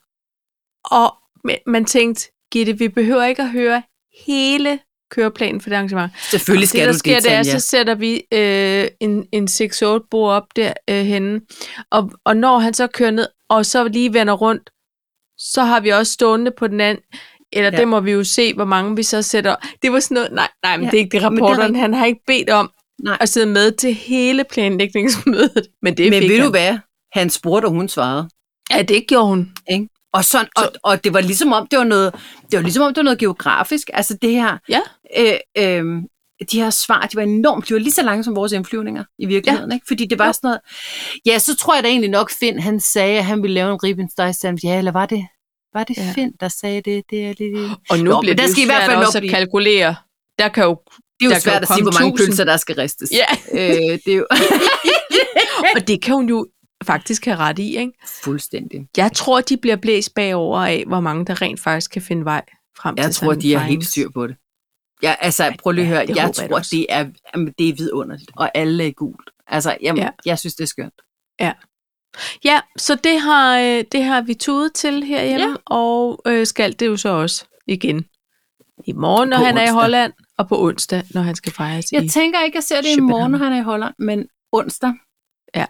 B: og ma- man tænkte, Gitte, vi behøver ikke at høre hele køreplanen for det arrangement.
A: Selvfølgelig
B: det, der sker, det er, så sætter vi øh, en, en 6-8 bord op der øh, henne, og, og når han så kører ned, og så lige vender rundt, så har vi også stående på den anden, eller
A: Ja.
B: ja. det må vi jo se, hvor mange vi så sætter. Det var sådan noget, nej, nej, men
A: Ja,
B: ja. det er ikke det,
A: men det er
B: rapporteren,
A: rigtigt.
B: han har ikke bedt om
A: Nej.
B: at sidde med til hele planlægningsmødet, men det
A: Men
B: fik
A: ved
B: han.
A: du hvad? Han spurgte, og hun svarede.
B: Ja, det gjorde hun.
A: Og, sådan, og, og det var ligesom om, det var noget, det var ligesom om, det var noget geografisk. Altså det her,
B: Ja.
A: øh, øh, de her svar, de var enormt, de var lige så lange som vores indflyvninger i virkeligheden, ja. ikke? Fordi det var
B: Jo.
A: sådan noget, ja, så tror jeg da egentlig nok Finn, han sagde, at han ville lave en ribbensteg sandwich. Ja, eller var det, var det ja.
B: Ja.
A: Finn, der sagde det? Det er lidt...
B: Og nu
A: Nå, men
B: Nå, bliver
A: der
B: det jo
A: skal i hvert
B: svært
A: fald nok
B: også at
A: blive-
B: kalkulere. Der kan jo...
A: Det er jo
B: Der kan
A: svært
B: jo
A: at sige,
B: komme
A: hvor mange
B: 1000.
A: pølser, der skal ristes.
B: Ja,
A: Øh, det er jo
B: og det kan hun jo faktisk have ret i, ikke?
A: fuldstændig.
B: Jeg tror, de bliver blæst bagover af, hvor mange, der rent faktisk kan finde vej frem til
A: Jeg tror,
B: sådan en
A: de er helt
B: finals.
A: styr på det. Ja, altså, prøv lige at
B: ja,
A: høre,
B: det
A: jeg
B: håber jeg da
A: tror,
B: også.
A: det er, jamen, det er vidunderligt, og alle er gult. Altså, jamen, ja.
B: Ja.
A: jeg synes, det er skønt.
B: Ja, så det har, øh, det har vi tudet til herhjemme, ja. og øh, skal det jo så også igen. I morgen, når
A: På
B: han er i
A: onsdag.
B: Holland, og på onsdag, når han skal fejres
A: Jeg
B: i...
A: tænker ikke, at jeg ser det i
B: København.
A: morgen, når han er i Holland, men onsdag.
B: Ja.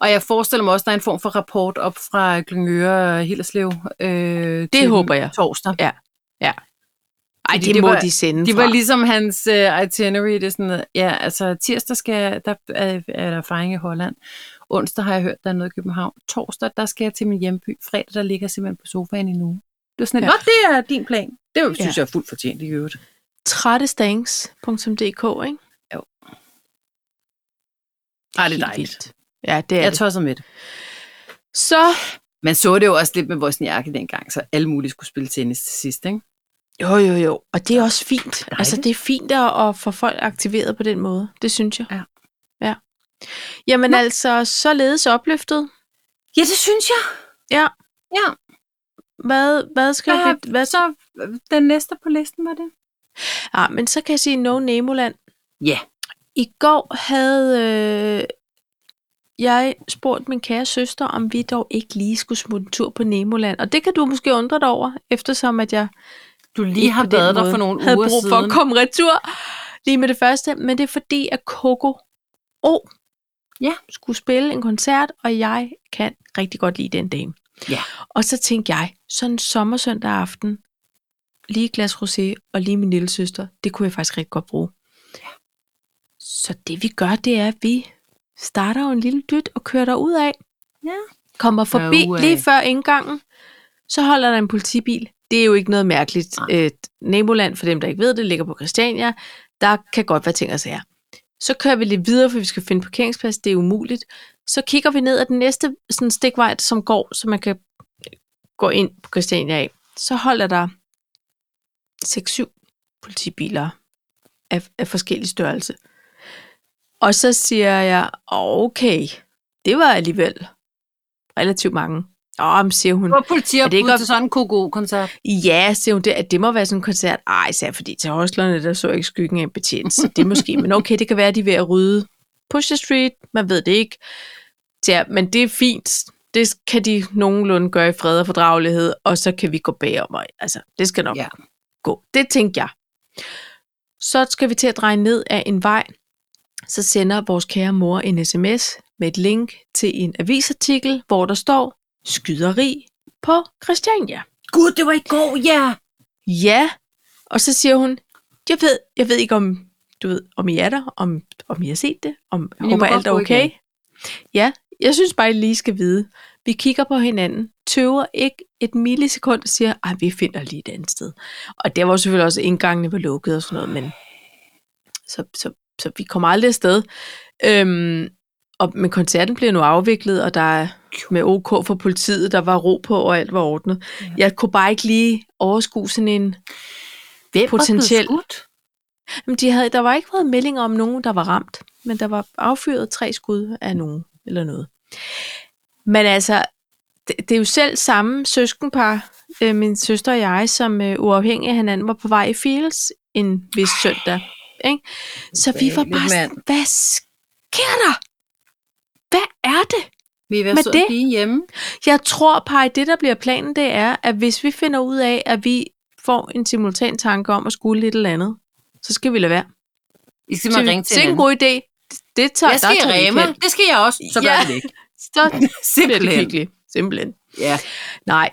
A: Og jeg forestiller mig også, at der er en form for rapport op fra Glyngøre og Hillerslev. Øh, det
B: håber jeg.
A: Torsdag.
B: Ej,
A: fordi
B: det,
A: det
B: må
A: var-
B: de sende
A: Det
B: fra.
A: var ligesom hans uh, itinerary, det er sådan, noget, ja, altså tirsdag skal, der er, er der fejring i Holland. Onsdag har jeg hørt, der er noget i København. Torsdag, der skal jeg til min hjemby. Fredag, der ligger jeg simpelthen på sofaen i nu. Det var sådan, ja.
B: Ja.
A: Nå, det er din plan. Det synes
B: Ja.
A: jeg er fuldt fortjent i øvrigt.
B: Trættestangs.dk, ikke?
A: Ej, det er
B: Helt
A: dejligt.
B: vildt. Ja, det er
A: Jeg
B: det.
A: tosser med det.
B: Så
A: Man så det jo også lidt med Vosniakke dengang, så alle mulige skulle spille tennis til sidst, ikke?
B: Jo, jo, jo. Og det er også fint. Dejligt. Altså,
A: Dejligt.
B: det er fint at, at få folk aktiveret på den måde. Det synes jeg.
A: Ja.
B: ja. Jamen
A: Nå.
B: Nå. altså, således opløftet.
A: Ja, det synes jeg.
B: Ja.
A: Ja,
B: Hvad, hvad skal
A: hvad,
B: vi...
A: hvad
B: Hvad,
A: så? øh, Den næste på listen var det?
B: ah, men så kan jeg sige No Nemoland.
A: Ja.
B: I går havde øh, jeg spurgt min kære søster, om vi dog ikke lige skulle smutte en tur på Nemoland. Og det kan du måske undre dig over, eftersom at jeg
A: Du lige
B: ikke
A: har
B: på den
A: været der
B: måde
A: for nogle
B: havde
A: uger
B: brug for
A: siden.
B: at komme retur lige med det første, men det er fordi, at Coco O
A: Ja.
B: skulle spille en koncert, og jeg kan rigtig godt lide den dame.
A: Ja.
B: Og så tænkte jeg, sådan en sommersøndag aften, lige et glas rosé og lige min lille søster, det kunne jeg faktisk rigtig godt bruge. Så det vi gør, det er, at vi starter jo en lille dyt og kører derud af.
A: Ja.
B: Kommer forbi
A: Derudad.
B: lige før indgangen, så holder der en politibil. Det er jo ikke noget mærkeligt.
A: Nej.
B: Øh, naboland, for dem der ikke ved det, ligger på Christiania. Der kan godt være ting og sager. Så kører vi lidt videre, for vi skal finde parkeringsplads. Det er umuligt. Så kigger vi ned ad den næste sådan stikvej, som går, så man kan gå ind på Christiania af. Så holder der 6-7 politibiler af, af forskellig størrelse. Og så siger jeg, okay, det var alligevel relativt mange. Åh, men siger hun,
A: Hvor politi
B: Er det ikke
A: op
B: op-
A: til sådan en KGO-koncert?
B: ja, siger hun, det, at det må være sådan en koncert. Ej, sagde jeg, fordi til hostlerne, der så jeg ikke skyggen af en betjent, så det er måske. Men okay, det kan være, at de er ved at rydde Pusher Street, man ved det ikke. Så ja, men det er fint. Det kan de nogenlunde gøre i fred og fordragelighed, og så kan vi gå bagom. Og, altså, det skal nok
A: Ja.
B: gå. Det tænkte jeg. Så skal vi til at dreje ned af en vej. Så sender vores kære mor en sms med et link til en avisartikel, hvor der står skyderi på Christiania.
A: Gud, det var i går, ja.
B: Ja, og så siger hun, jeg ved, jeg ved ikke om, du ved, om I er der, om, om I har set det, om
A: I
B: jeg
A: må
B: håber
A: godt
B: alt er
A: gå
B: okay.
A: igen.
B: Ja, jeg synes bare, I lige skal vide. Vi kigger på hinanden, tøver ikke et millisekund og siger, at vi finder lige et andet sted. Og der var jo selvfølgelig også, at indgangene var lukket og sådan noget, men så, så, så vi kommer aldrig afsted. Øhm, og, men koncerten bliver nu afviklet, og der er med OK for politiet, der var ro på, og alt var ordnet. Ja. Jeg kunne bare ikke lige overskue sådan en...
A: Hvem
B: Potentielt.
A: var blevet skudt?
B: Jamen, de havde, der var ikke været meldinger om nogen, der var ramt, men der var affyret tre skud af nogen eller noget. Men altså, det, det er jo selv samme søskenpar, øh, min søster og jeg, som øh, uafhængig af hinanden var på vej i Fields en vis søndag. Ikke? Så vi var
A: ubehageligt,
B: bare sådan,
A: mand.
B: hvad sker der? Hvad er det?
A: Vi er ved
B: Men
A: at sidde
B: det-
A: lige hjemme.
B: Jeg tror, Paj, det der bliver planen, det er, at hvis vi finder ud af, at vi får en simultan tanke om at skulle lidt eller andet, så skal vi lade være.
A: I skal man
B: Så-
A: ringe til
B: det er en
A: hinanden.
B: god idé. Det- Det tager,
A: Jeg skal
B: der
A: i
B: tager vi
A: Rema.
B: ikke hen.
A: Det skal jeg også. Så
B: Ja.
A: gør vi det ikke.
B: Så bliver det
A: Simpelthen.
B: hyggeligt. Simpelthen.
A: Ja.
B: Nej.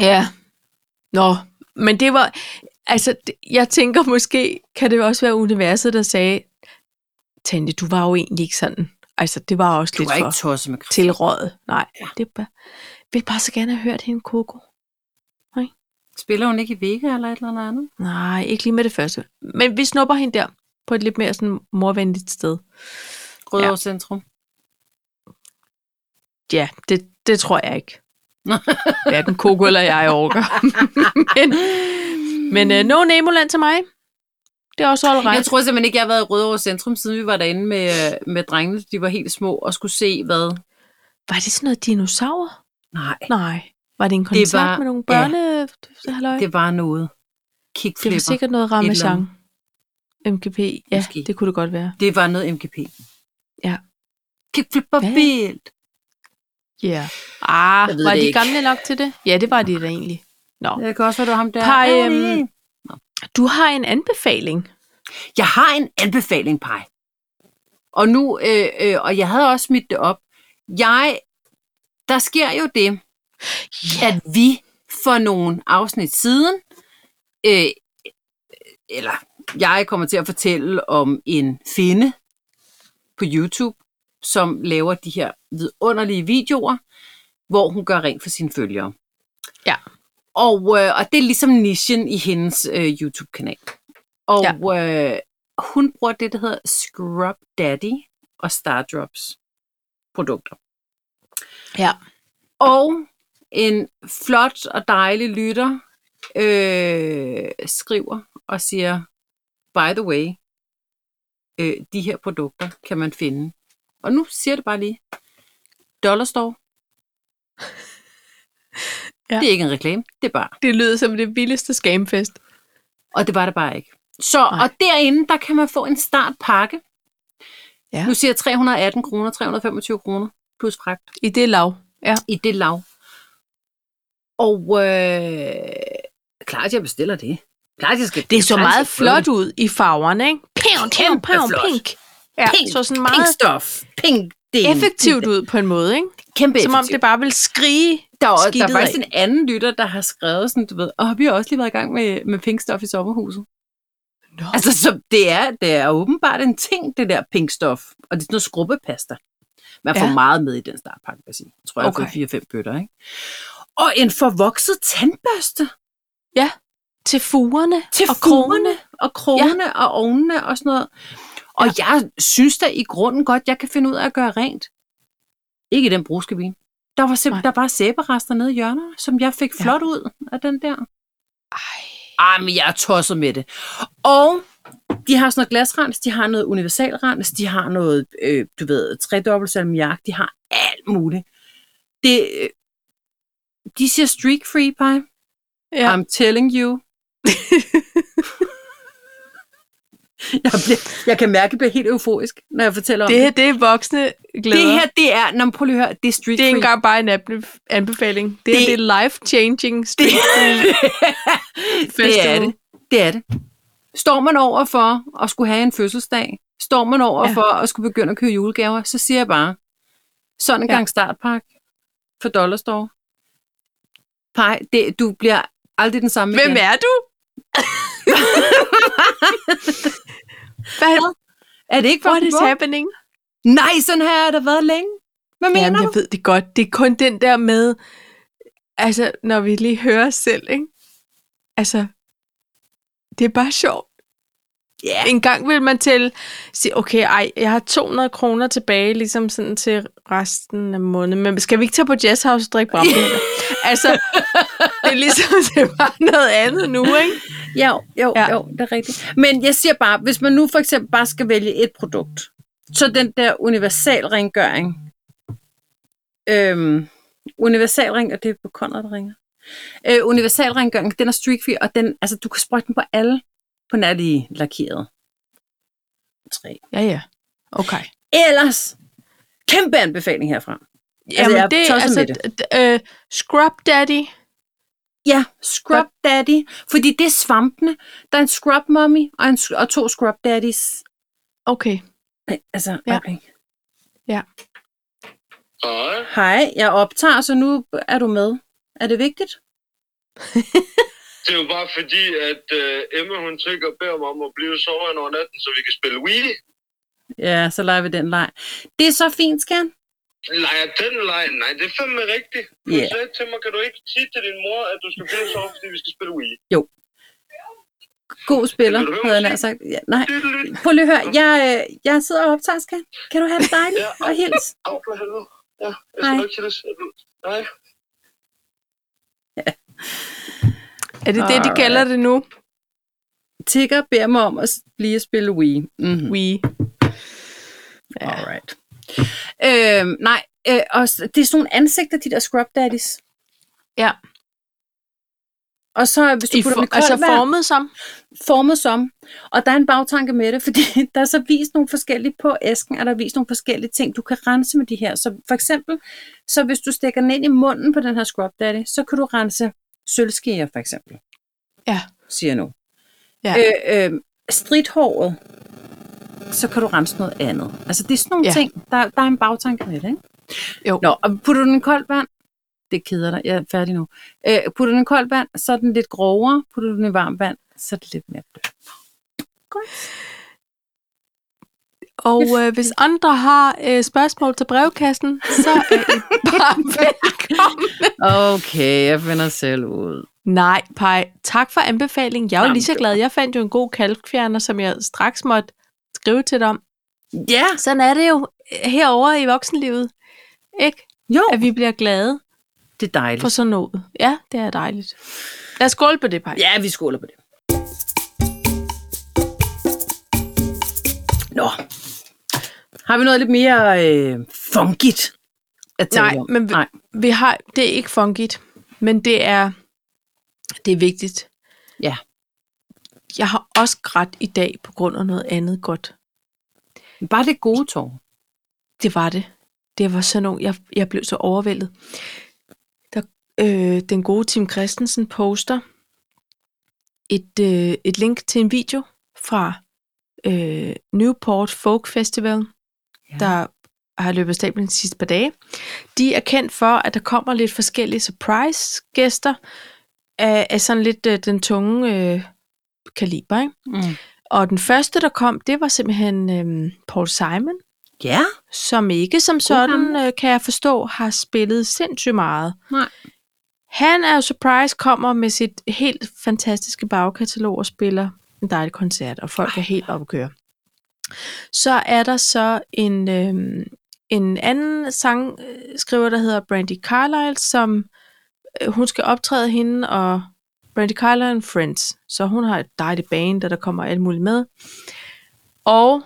B: Ja. Nå, men det var... Altså, det- jeg tænker måske, kan det også være universet, der sagde, Tante, du var jo egentlig ikke sådan. Altså, det var også
A: Du
B: lidt
A: er
B: for
A: ikke tosset med Christian.
B: tilrådet. Nej, det er bare... Jeg vil bare så gerne have hørt hende, Coco.
A: Spiller hun ikke i Vega eller et eller andet?
B: Nej, ikke lige med det første. Men vi snupper hende der på et lidt mere sådan morvenligt sted.
A: Rødovre Centrum.
B: Ja, det, det tror jeg ikke. Hverken Coco eller jeg orker. men men uh, no Nemoland til mig. Det er også all
A: Mm, Jeg
B: right.
A: tror simpelthen ikke, jeg har været i Rødovre Centrum, siden vi var derinde med, øh, med drengene. De var helt små og skulle se, hvad...
B: Var det sådan noget dinosaurer?
A: Nej,
B: Nej. Var det en koncert det
A: var-
B: var, med nogle
A: ja.
B: børne... Ja, det,
A: det var noget.
B: det var
A: Kickflipper.
B: sikkert noget
A: eller
B: Ramachan. MGP. Ja,
A: Måske.
B: det kunne det godt være.
A: Det var noget MGP.
B: Ja.
A: Kickflipper
B: Hvad?
A: vildt.
B: Ja. Yeah. Ah,
A: Jeg ved
B: var
A: det
B: de
A: ikke.
B: gamle nok til det? Ja, det var de da egentlig.
A: Det kan også være, det var ham der.
B: Par,
A: Hey.
B: øhm, Du har en anbefaling.
A: Jeg har en anbefaling, Paj. Og nu, øh, øh, og jeg havde også smidt det op. Jeg, der sker jo det, at vi for nogle afsnit siden, øh, eller jeg kommer til at fortælle om en finde på YouTube, som laver de her vidunderlige videoer, hvor hun gør rent for sine følgere.
B: Ja.
A: Og, øh, og det er ligesom nichen i hendes øh, YouTube-kanal. Og ja. øh, hun bruger det, der hedder Scrub Daddy og Stardrops produkter.
B: Ja.
A: Og en flot og dejlig lytter øh, skriver og siger, by the way, øh, de her produkter kan man finde. Og nu siger jeg det bare lige. Dollarstore.
B: Ja.
A: ja. Det er ikke en reklame, det er bare.
B: Det lyder som det vildeste scamfest.
A: Og det var det bare ikke. Så, Nej.
B: Nej.
A: og derinde, der kan man få en startpakke.
B: Ja.
A: Nu siger jeg 318 kroner, 325 kroner plus fragt
B: I det lav. Ja.
A: i det lav. Og øh, klart, jeg bestiller det. Klart, jeg skal,
B: Det er så
A: klart, jeg
B: meget
A: skal prøve
B: flot ud i farverne, ikke? Pound, pound,
A: Kæmpe
B: pound,
A: flot.
B: pink. Ja,
A: Pink,
B: så sådan
A: det. Pink
B: meget
A: stof. Pink det er en-
B: effektivt ud på en måde, ikke?
A: Kæmpe
B: Som om det bare vil skrige.
A: der, er, også- der er
B: skidtet
A: faktisk
B: af.
A: en anden lytter, der har skrevet sådan, du ved, og vi har også lige været i gang med, med pink stof i sommerhuset.
B: Nå.
A: Altså, så det er, det er åbenbart en ting, det der pink stof. Og det er sådan noget skrubbepasta. Man får
B: Ja.
A: meget med i den startpakke, vil jeg sige. Jeg tror, jeg har
B: Okay.
A: fået 4-5 bøtter, ikke? Og en forvokset tandbørste
B: Til fugerne
A: til
B: og krogene.
A: fugerne og krogene ja. og ovnene og sådan noget. Og ja. jeg synes da i grunden godt, jeg kan finde ud af at gøre rent. Ikke i den brugskabine. Der var
B: Nej.
A: simpelthen der var bare sæberester nede i hjørnet, som jeg fik
B: Ja.
A: flot ud af den der.
B: Ej,
A: Ej, men jeg er tosset med det. Og de har sådan noget glasrens, de har noget universalrens, de har noget, øh, du ved, tredobbelt salmiak, de har alt muligt. Det, øh, de siger streak free, pie.
B: Ja.
A: I'm telling you. jeg, bliver, jeg kan mærke, at jeg bliver helt euforisk, når jeg fortæller
B: det
A: om
B: her,
A: det.
B: det er voksne glæder.
A: Det her, det er, når man prøver at høre, det er streak
B: det er ikke
A: free.
B: engang bare en anbe- anbefaling. Det, her,
A: Det-
B: det er life-changing
A: Det,
B: street food
A: det er
B: festival.
A: det. Det er det. Står man over for at skulle have en fødselsdag, står man over ja.
B: Ja.
A: for at skulle begynde at købe julegaver, så siger jeg bare, sådan en
B: Ja.
A: gang startpakke for dollarstore. Pej, det, du bliver aldrig den samme
B: Hvem
A: igen.
B: er du? Hvad?
A: Er det ikke
B: What
A: fucking
B: is
A: woke?
B: happening?
A: Nej, sådan her har der været længe. Hvad mener
B: Jamen,
A: du?
B: jeg ved det godt. Det er kun den der med, altså, når vi lige hører os selv, ikke? Altså, det er bare sjovt.
A: Ja.
B: En gang vil man til sige, okay, ej, jeg har 200 kroner tilbage, ligesom sådan til resten af måneden, men skal vi ikke tage på Jazz House og drikke bobler? altså, det er ligesom, det er bare noget andet nu, ikke?
A: Jo, jo, ja.
B: Ja.
A: jo, det er rigtigt. Men jeg siger bare, hvis man nu for eksempel bare skal vælge et produkt, så den der universal rengøring, Øhm, universalring, og det er på Conrad, der ringer. Øh, universalrengøring, den er streakfri, og den, altså, du kan sprøjte den på alle på nærlige lakerede træ.
B: Ja, ja. Okay.
A: Ellers, kæmpe anbefaling herfra.
B: Jamen,
A: jeg er
B: det,
A: tosset
B: altså,
A: med
B: d- øh, Scrub Daddy.
A: Ja, Scrub Daddy, fordi det er svampene. Der er en Scrub Mommy og, en, s- og to Scrub Daddies.
B: Okay.
A: Ej, Altså,
B: Ja.
A: okay.
C: Hej.
A: Hej, jeg optager, så nu er du med. Er det vigtigt?
C: Det er jo bare fordi, at øh, Emma hun tænker og beder mig om at blive sovet over natten, så vi kan spille Wii.
A: Ja, så leger vi den leg. Det er så fint, skat.
C: Leger den leg? Nej, det er fandme rigtigt. Hun
A: Ja.
C: yeah. sagde til mig, kan du ikke sige til din mor, at du skal blive sovet, fordi vi skal spille Wii?
A: God spiller,
C: Vil du
A: havde
C: høre
A: jeg nær
C: musik?
A: sagt. Ja, nej.
C: Diddly.
A: Prøv lige at høre, jeg, øh, jeg sidder og optager, skat. Kan du have det dejligt
C: Ja.
A: og hils?
C: Au, for helvede. Ja, jeg skal
A: Hej.
C: nok til det. Nej.
B: Er det det, de
A: Alright.
B: kalder det nu?
A: Tigger beder mig om at s- lige at spille Wii. Mm-hmm.
B: We. Ja.
A: Alright. Øhm, nej, øh, og s- det er sådan nogle ansigter, de der scrub daddies.
B: Ja.
A: Og så, hvis du
B: I
A: putter
B: for,
A: dem i koldt
B: altså
A: vand,
B: formet som?
A: formet som. Og der er en bagtanke med det, fordi der er så vist nogle forskellige på æsken, og der er vist nogle forskellige ting, du kan rense med de her. Så for eksempel, så hvis du stikker den ind i munden på den her scrub daddy, så kan du rense sølvskeer for eksempel.
B: Ja.
A: Siger jeg nu.
B: Ja.
A: Øh, øh, stridthåret, så kan du rense noget andet. Altså det er sådan nogle
B: Ja.
A: ja. ting, der, der er en bagtanke med det, ikke?
B: Jo.
A: Nå, og putter du den i koldt vand, det keder dig, jeg er færdig nu. Øh, putter du den i koldt vand, så er den lidt grovere. Putter du den i varmt vand, så er det lidt mere blødt.
B: Og øh, hvis andre har øh, spørgsmål til brevkassen, så er I bare velkommen.
A: Okay, jeg finder selv ud.
B: Nej, Pej. Tak for anbefalingen. Jeg er jo
A: Jamen,
B: lige så glad. Jeg fandt jo en god kalkfjerner, som jeg straks måtte skrive til dig om.
A: Ja,
B: Sådan er det jo øh, herovre i voksenlivet. Ikke?
A: jo,
B: At vi bliver glade
A: det er dejligt.
B: for sådan noget. Ja, det er dejligt. Lad os skåle på det, Pej.
A: Ja, vi skåler på det. Nå, har vi noget lidt mere øh, funkigt at tale
B: Nej,
A: om?
B: men vi-
A: Nej,
B: Vi har, det er ikke fungit, men det er, det er vigtigt.
A: Ja.
B: Jeg har også grædt i dag på grund af noget andet godt.
A: bare det gode tår.
B: Det var det. Det var sådan nogle, jeg, jeg blev så overvældet. Der, øh, den gode Tim Christensen poster et, øh, et link til en video fra øh, Newport Folk Festival,
A: Ja.
B: ja. der har løbet af stablen de sidste par dage. De er kendt for, at der kommer lidt forskellige surprise-gæster af, af sådan lidt øh, den tunge øh, kaliber. Ikke?
A: Mm.
B: Og den første, der kom, det var simpelthen øh, Paul Simon
A: Ja,
B: som ikke som sådan,
A: gamle.
B: øh, kan jeg forstå, har spillet sindssygt meget.
A: Nej.
B: Han er jo surprise, kommer med sit helt fantastiske bagkatalog og spiller en dejlig koncert, og folk er helt opkøre. Så er der så en, øh, en anden sangskriver, der hedder Brandy Carlile, som øh, hun skal optræde hende, og Brandy Carlile and Friends. Så hun har et dejligt band, og der kommer alt muligt med. Og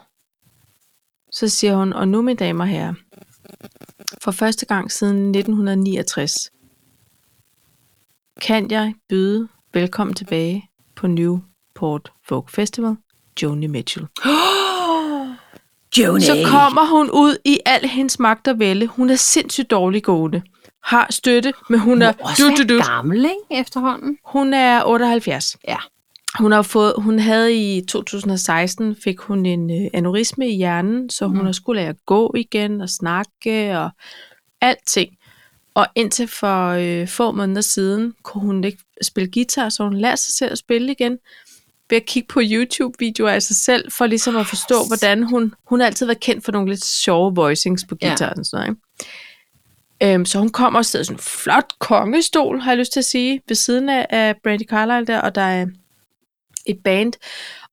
B: så siger hun, og nu mine damer og herrer, for første gang siden 1969, kan jeg byde velkommen tilbage på Newport Folk Festival, Joni Mitchell.
A: Joni.
B: Så kommer hun ud i al hendes magt og vælge. Hun er sindssygt dårlig gående. Har støtte, men hun er...
A: Også
B: Du, du, du.
A: gammel, ikke, efterhånden?
B: Hun er 78.
A: Ja.
B: Hun, har fået, hun havde i 2016, fik hun en øh, aneurisme i hjernen, så hun
A: Mhm.
B: har skulle lære at gå igen og snakke og alting. Og indtil for øh, få måneder siden kunne hun ikke spille guitar, så hun lærte sig selv at spille igen ved at kigge på YouTube-videoer af sig selv, for ligesom at forstå, hvordan hun... Hun har altid været kendt for nogle lidt sjove voicings på
A: Ja.
B: guitar og sådan noget, ikke? Øhm, så hun kommer og sidder i sådan en flot kongestol, har jeg lyst til at sige, ved siden af, af Brandy Carlile der, og der er et band.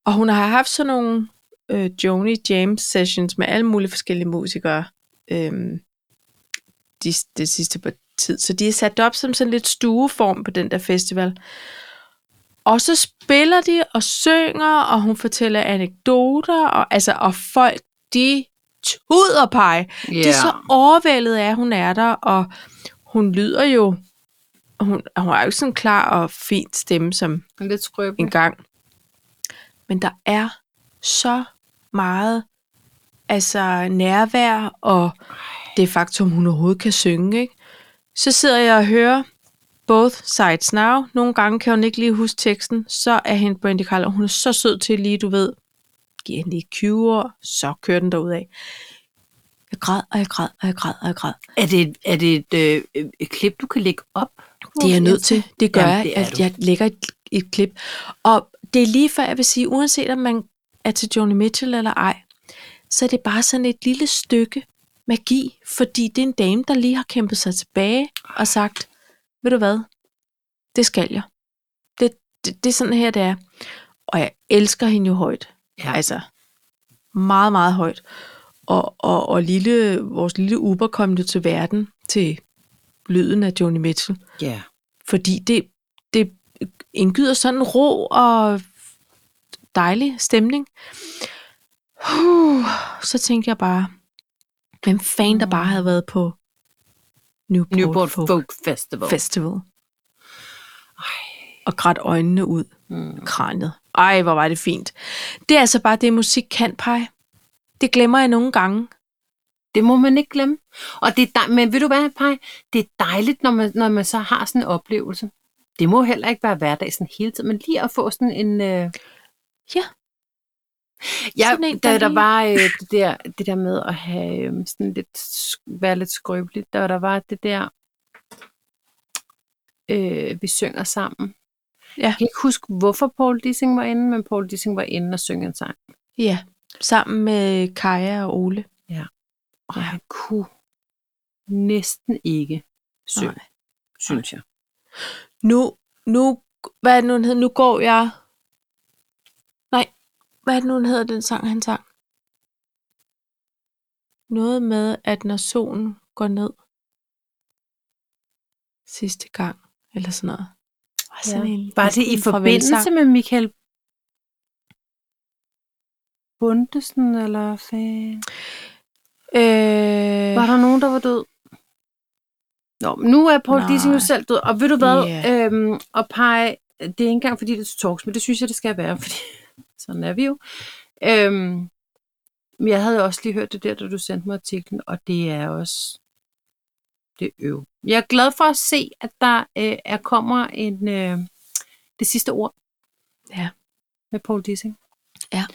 B: Og hun har haft sådan nogle øh, Joni James sessions med alle mulige forskellige musikere øhm, de, det sidste par tid. Så de er sat op som sådan lidt stueform på den der festival. Og så spiller de og synger, og hun fortæller anekdoter, og, altså, og folk, de tuderpej.
A: Yeah.
B: Det er så overvældet af, at hun er der, og hun lyder jo... Hun, hun har jo ikke sådan en klar og fin stemme som
A: lidt skrøbelig.
B: engang. Men der er så meget altså nærvær og det faktum, hun overhovedet kan synge. Ikke? Så sidder jeg og hører Both Sides Now. Nogle gange kan hun ikke lige huske teksten. Så er hende Brandy Carl, og hun er så sød til lige, du ved, giver hende lige 20 år, så kører den derudad. Jeg græd, og jeg græd, og jeg græd, og jeg græd.
A: Er det, et- er det et, øh, et klip, du kan lægge op?
B: Det er jeg nødt til. Det gør
A: Jamen,
B: Jamen,
A: det
B: det
A: er
B: jeg.
A: du.
B: Jeg, jeg lægger et, et klip. Og det er lige før, jeg vil sige, uanset om man er til Joni Mitchell eller ej, så er det bare sådan et lille stykke magi, fordi det er en dame, der lige har kæmpet sig tilbage og sagt, ved du hvad, det skal jeg. Det, det, det er sådan her, det er. Og jeg elsker hende jo højt.
A: Ja.
B: Altså, meget, meget højt. Og, og, og lille, vores lille Uber kom jo til verden til lyden af Joni Mitchell
A: Ja.
B: fordi det, det indgyder sådan en ro og dejlig stemning. Uh, så tænkte jeg bare, hvem fanden der bare havde været på Newport,
A: Newport
B: Folk
A: Folk Festival.
B: Festival. Og grædt øjnene ud
A: Mm.
B: kraniet. Ej, hvor var det fint. Det er altså bare det, musik kan pege. Det glemmer jeg nogle gange.
A: Det må man ikke glemme. Og det er dej- men ved du hvad, Paj? Det er dejligt, når man, når man så har sådan en oplevelse. Det må heller ikke være hverdag sådan hele tiden, men lige at få sådan en... Øh...
B: Ja.
A: Ja,
B: Sådan en,
A: da
B: der
A: der,
B: lige-
A: var øh, det, der, det der med at have øh, sådan lidt, sk- være lidt skrøbelig, da der var det der, øh, vi synger sammen.
B: Ja.
A: Jeg kan ikke huske, hvorfor Paul Dissing var inde, men Paul Dissing var inde og synge en sang.
B: Ja, sammen med Kaja og Ole.
A: Og
B: Ja.
A: han kunne næsten ikke synge.
B: Nej.
A: synes jeg.
B: nu, nu, hvad er det nu, den hedder? Nu går jeg... Nej, hvad er det nu, den hedder, den sang, han sang? Noget med, at når solen går ned sidste gang, eller sådan noget. Var, sådan
A: Ja.
B: en,
A: Var det i forbindelse med Michael Bundesen, eller fan?
B: Øh,
A: Var der nogen, der var død? Nå, men nu er Paul
B: Nej.
A: Dissing jo selv død, og ved du hvad,
B: Ja.
A: yeah. øhm, og pege, det er ikke engang fordi, det er til talks, men det synes jeg, det skal være, fordi sådan er vi jo. Øhm, men jeg havde også lige hørt det der, da du sendte mig artiklen, og det er også det øv. Jeg er glad for at se, at der øh, er kommer en øh, det sidste ord
B: Ja.
A: med Paul Dissing.
B: Ja.